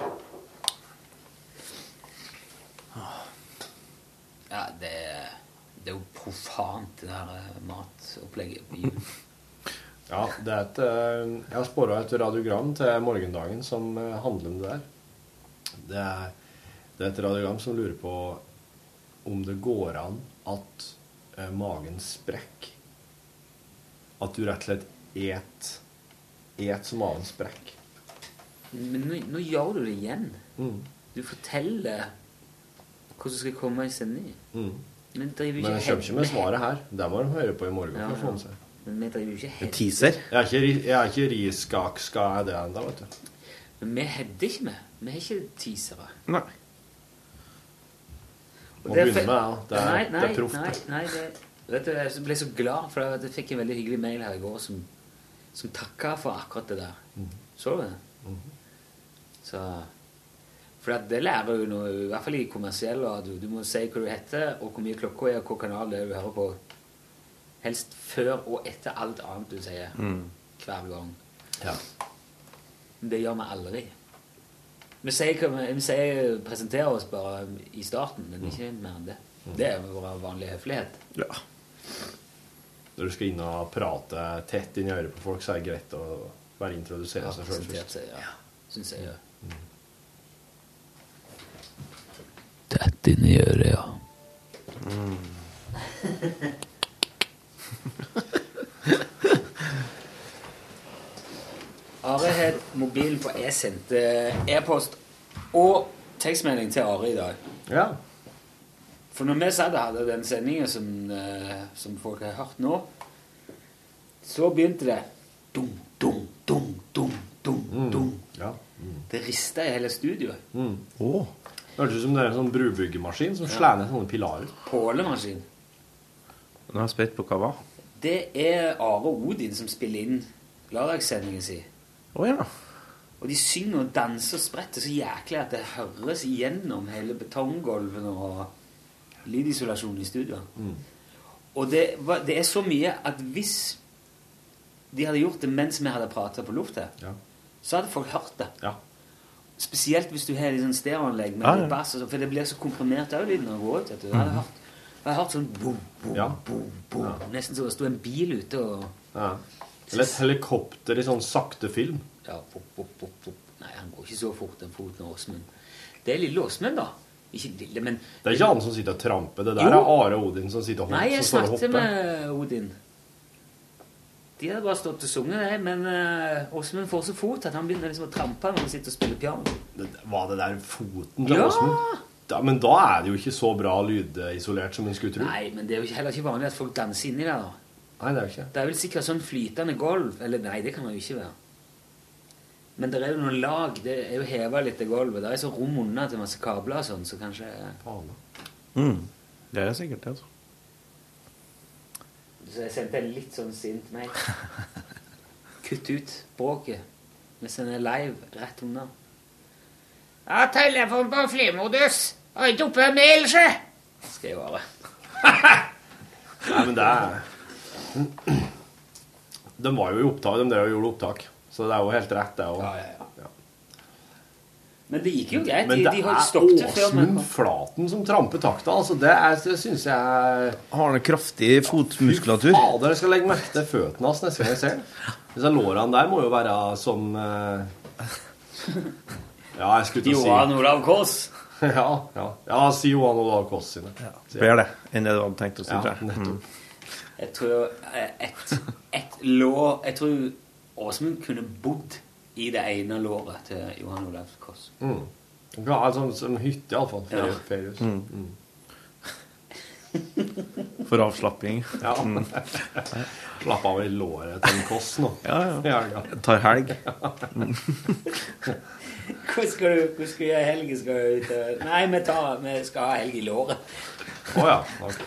C: Ja, det, er- det er jo profant, det der eh, matopplegget på jul.
B: Ja, det er et, eh, jeg har spora et radiogram til morgendagen som eh, handler om det der. Det er, det er et radiogram som lurer på om det går an at eh, magen sprekker. At du rett og slett et, et så magen sprekker.
C: Men nå, nå gjør du det igjen.
B: Mm.
C: Du forteller hva som skal komme i sendingen.
B: Mm.
C: Men, driver
B: Men jeg
C: ikke
B: kommer ikke med svaret her. Det må de høre på i morgen.
C: Ja,
B: for å få med
C: ja.
B: seg.
C: Men vi driver jo ikke
B: En teaser? Jeg er ikke, ri- jeg er ikke riskakska er det ennå, vet du.
C: Men vi hedder ikke med. Vi har ikke teasere.
B: Nei. Må
C: er
B: begynne med det,
C: fe-
B: da. Det er,
C: nei, nei,
B: det er proft.
C: Nei, nei, det, vet du, jeg ble så glad, for jeg, jeg fikk en veldig hyggelig mail her i går som, som takka for akkurat det der.
B: Mhm.
C: Så du det? Så, for at det lærer jo noe, i hvert fall i kommersiell, og at du, du må si hva du heter, og hvor mye klokka er, og hvilken kanal det er du hører på. Helst før og etter alt annet du sier.
B: Mm.
C: Hver gang.
B: Ja.
C: Men det gjør vi aldri. Vi sier, hva vi, vi sier presenterer oss bare i starten, men ikke mer enn det. Det er jo vår vanlige høflighet.
B: Ja. Når du skal inn og prate tett inn i øret på folk, så er det greit å bare introdusere seg sjøl
C: Presentert
B: først.
C: seg, ja. Synes jeg, ja.
L: Tett inni øret, ja.
C: Mm. Are har mobilen på jeg sendte e-post og tekstmelding til Are i dag.
B: Ja.
C: For når vi satt og hadde den sendingen som, eh, som folk har hørt nå, så begynte det dum, dum, dum, dum, dum, dum. Det rista i hele studioet.
B: Mm. Åh. Det hørtes ut som det er en sånn brubyggemaskin som
C: Ja.
B: slår ned sånne pilarer.
C: Pålemaskin.
D: Nå er jeg spent på hva det var.
C: Det er Are Odin som spiller inn lørdagssendingen sin.
D: Å ja.
C: Og de synger og danser og spretter så jæklig at det høres gjennom hele betonggulven og lydisolasjonen i studioet.
D: Mm.
C: Og det, var, det er så mye at hvis de hadde gjort det mens vi hadde prata på lufta, så hadde folk hørt det. Spesielt hvis du har litt sånn stereoanlegg med
D: Ja, ja.
C: litt bass, og sånn, for det blir så komprimert òg lyden når det går ut. Vet du. Jeg hadde
D: Mhm.
C: hørt, jeg hadde hørt sånn boom, boom, boom, boom. Nesten så det sto en bil ute og
B: Ja. Eller et helikopter i sånn sakte film.
C: Ja, pop, pop, pop, pop. Nei, han går ikke så fort, den foten av Åsmund. Det er lille Åsmund, da. Ikke lille, men
B: Det er ikke han som sitter og tramper. Det der
C: Jo.
B: er Are Odin som sitter og hopper.
C: Nei, jeg
B: som står og
C: snakket
B: hopper.
C: med Odin. De hadde bare stått og sunget, det, men eh, Åsmund får så fot at han begynner liksom å trampe når han sitter og spiller piano.
B: Det- Var det der foten til
C: Ja!
B: Åsmund? Da, men da er det jo ikke så bra lydisolert som en skulle tro.
C: Nei, men det er jo ikke- heller ikke vanlig at folk danser inni der. da.
B: Nei, det er jo ikke.
C: Det er vel sikkert sånn flytende gulv Eller nei, det kan det jo ikke være. Men det er jo noen lag. Det er jo heva litt, det gulvet. Det er så rom unna til masse kabler og sånn, så kanskje
D: Mm. Det er det sikkert, det, altså.
C: Så jeg sendte en litt sånn sint mail. Kutt ut bråket. Vi sender live rett unna. Ja, telefon på flymodus. Har ikke oppe mail, sjø. Skrev Are.
B: Nei, men det er De var jo i opptak, de drev og gjorde opptak. Så det er jo helt rett, det òg.
C: Men det gikk jo greit.
B: Men
C: De,
B: det
C: de
B: er
C: holdt stoppet før
B: Åsmund Flaten som tramper takta. Altså, det er- det syns jeg er
D: Har han en kraftig fotmuskulatur?
B: Ja, dere skal legge merke til føttene hans neste gang jeg ser den. Disse lårene der må jo være som eh, Ja, jeg skulle til å si
C: Johan Olav Kaas.
B: ja, ja. ja, si Johan Olav Kaas sine.
D: Bedre det enn det du hadde tenkt å si,
B: Ja,
D: tror jeg.
B: nettopp.
C: Jeg tror eh, et, et lår Jeg tror Åsmund kunne bodd i det ene låret til Johan Olav Koss.
B: Mm. Du kan ha en sånn som hytte, iallfall.
C: Ja.
B: Ferie, feriehus.
D: Mm.
B: Mm.
D: For avslapping.
B: Ja.
D: Mm.
B: Slapp av i låret til en Koss nå.
D: Ja, ja. Jeg tar helg. Mm.
C: Hvor skal du hvor skal du gjøre helgen? Skal du ut og Nei, vi, tar, vi skal ha helg i låret.
B: Å ja. ok.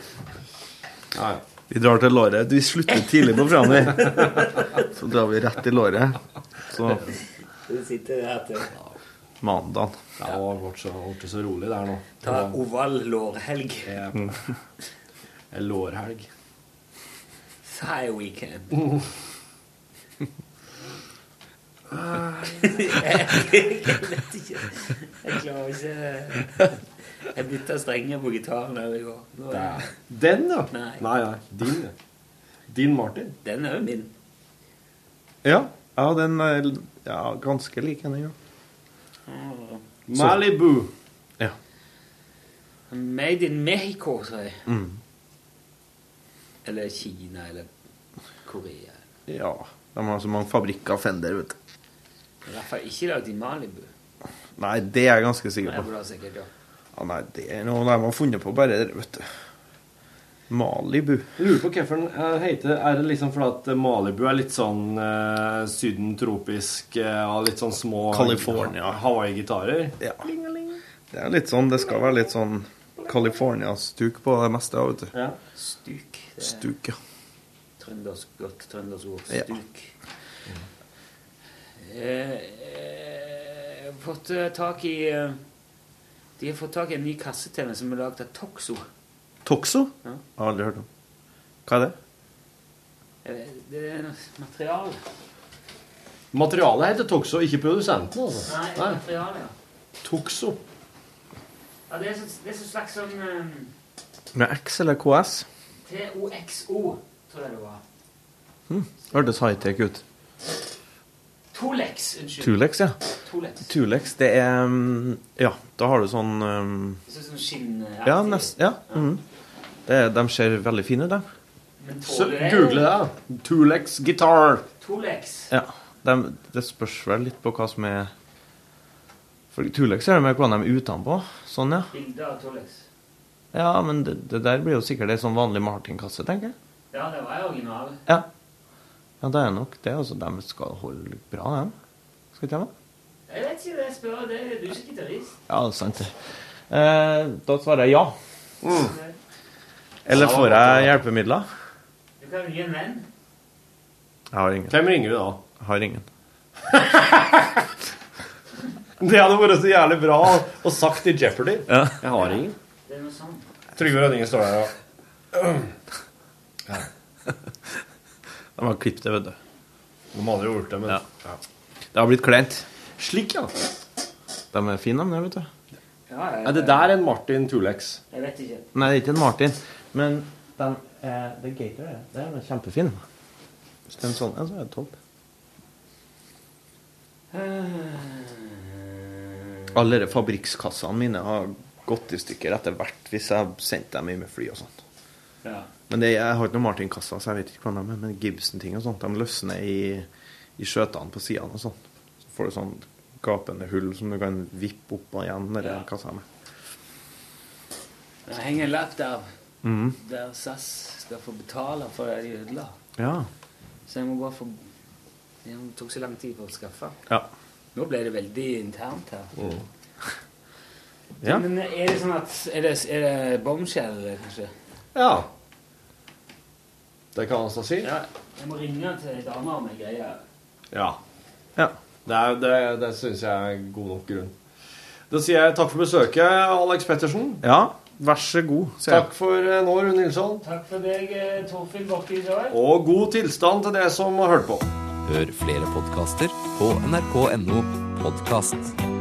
B: Ja, ja.
D: Vi drar til låret. Vi slutter tidlig på programmet, vi. Så drar vi rett i låret. Så
C: Du sitter der til å
D: mandag.
B: Det har vært så, vært så rolig der nå.
C: ta oval lårhelg.
B: Mm. En lårhelg.
C: Thigh weekend.
B: Mm.
C: jeg vet ikke. Jeg klarer ikke Jeg bytta strenger på gitaren her i går. Nå er-
B: Der. Den, ja. Nei,
C: Nei.
B: nei. Din. ja. Din Martin.
C: Den er jo min.
D: Ja. ja, den er ja, ganske lik henne, ja.
C: Åh.
D: Så-
C: Malibu.
D: Ja.
C: Made in Mexico, sa jeg.
D: Mm.
C: Eller Kina, eller Korea.
D: ja. De har så mange fabrikker av Fender, vet du.
C: I hvert fall ikke lagd i Malibu.
D: Nei, det er jeg ganske
C: Men
D: sikker
C: jeg
D: på.
C: burde ha sikkert, ja.
D: Ja, nei, det er noe de har funnet på bare, vet du. Malibu.
B: Jeg lurer på hvorfor den eh, heter Er det liksom fordi at Malibu er litt sånn eh, sydentropisk eh, Har litt sånn små
D: California.
B: Hawaii-gitarer?
D: Ja. Det er litt sånn, det skal være litt sånn California-stuk på det meste, vet du.
B: Ja.
C: Stuk. det er
D: Stuk, ja.
C: Trønders, godt trøndersk ord.
D: Ja.
C: Stuk. Eh, eh, jeg har fått eh, tak i eh, De har fått tak i en ny kasse-TV som er lagd av Toxo.
D: Toxo?
C: Ja.
D: Jeg har aldri hørt om. Hva er det?
C: Eh, Det er noe materiale.
B: Materialet heter Toxo, ikke produsenten, altså.
C: Nei, materiale, ja.
B: Toxo.
C: ja det er så- det er så slags sånn eh,
D: Med X eller KS?
C: TOXO, tror jeg det var.
D: Hm. Hørtes high-tech ut.
C: Tolex, unnskyld.
D: Tulex, ja.
C: Tolex.
D: Tulex, det er um, Ja, da har du sånn um,
C: Det ser ut som skinn... eh,
D: Ja, nest, ja. mhm. Det, er- de ser veldig fine ut, de.
C: Men
B: Så
C: tåler det-
B: google det. da. Tulex guitar.
C: Tolex.
D: Ja. De, det spørs vel litt på hva som er For Tulex er det med hva de er utenpå. Sånn, ja.
C: Bilde av Tolex.
D: Ja, men det, det der blir jo sikkert ei sånn vanlig Martin-kasse, tenker jeg.
C: Ja, det var jo original.
D: Ja. Ja, det er nok det. Altså, de skal holde bra, de. Skal ikke de? det?
C: Jeg vet ikke, jeg spør. Det er du som gitarist.
D: Ja, det er sant, det. Eh, da svarer jeg ja. Eller får jeg hjelpemidler?
C: Du kan ringe en venn.
D: Jeg har ingen.
B: Hvem ringer du da?
D: Jeg har ingen.
B: Det hadde vært så jævlig bra og sagt i Jeopardy.
D: Ja.
B: Jeg har ingen.
C: Det er noe sånt.
B: Trygve Rønningen står der og
D: De har klippet det, vet du.
B: De hadde jo gjort det, men ja.
D: Det har blitt kleint.
B: Slik, ja.
D: De er fine, de der, vet du.
C: Ja,
B: Er det der en Martin Tulex?
C: Jeg vet ikke.
D: Nei, det er ikke en Martin. Men de, eh, det er Gator, det. Det er kjempefin. Hvis det er en sånn en, så er det topp. Alle de fabrikkskassene mine har gått i stykker etter hvert hvis jeg har sendt dem inn med fly og sånt.
C: Ja.
D: Men det, jeg har ikke noen Martin-kassa, så jeg vet ikke hvordan de er. Men Gibson-ting og sånt, de løsner i, i skjøtene på sidene og sånn. Så får du sånn gapende hull som du kan vippe opp og igjen når det er kassa med.
C: Det henger en lapp der
D: Mhm.
C: der SAS skal få betale for det de ødela.
D: Ja.
C: Så jeg må bare få Det tok så lang tid for å skaffe.
D: Ja. Mm.
C: Nå ble det veldig internt her.
D: Ja.
C: Men er det sånn at Er det, er det bombshell, kanskje?
B: Ja. Det kan han så si.
C: Ja. Jeg må ringe til ei dame om ei greie.
B: Ja. Det, er, det, det syns jeg er god nok grunn. Da sier jeg takk for besøket, Alex Pettersen.
D: ja. Vær så god. sier jeg.
B: Takk for eh, nå, Rune Nilsson.
C: Takk for deg, eh, Torfinn Bakke i dag.
B: Og god tilstand til dere som har hørt på.
M: Hør flere podkaster på nrk.no podkast.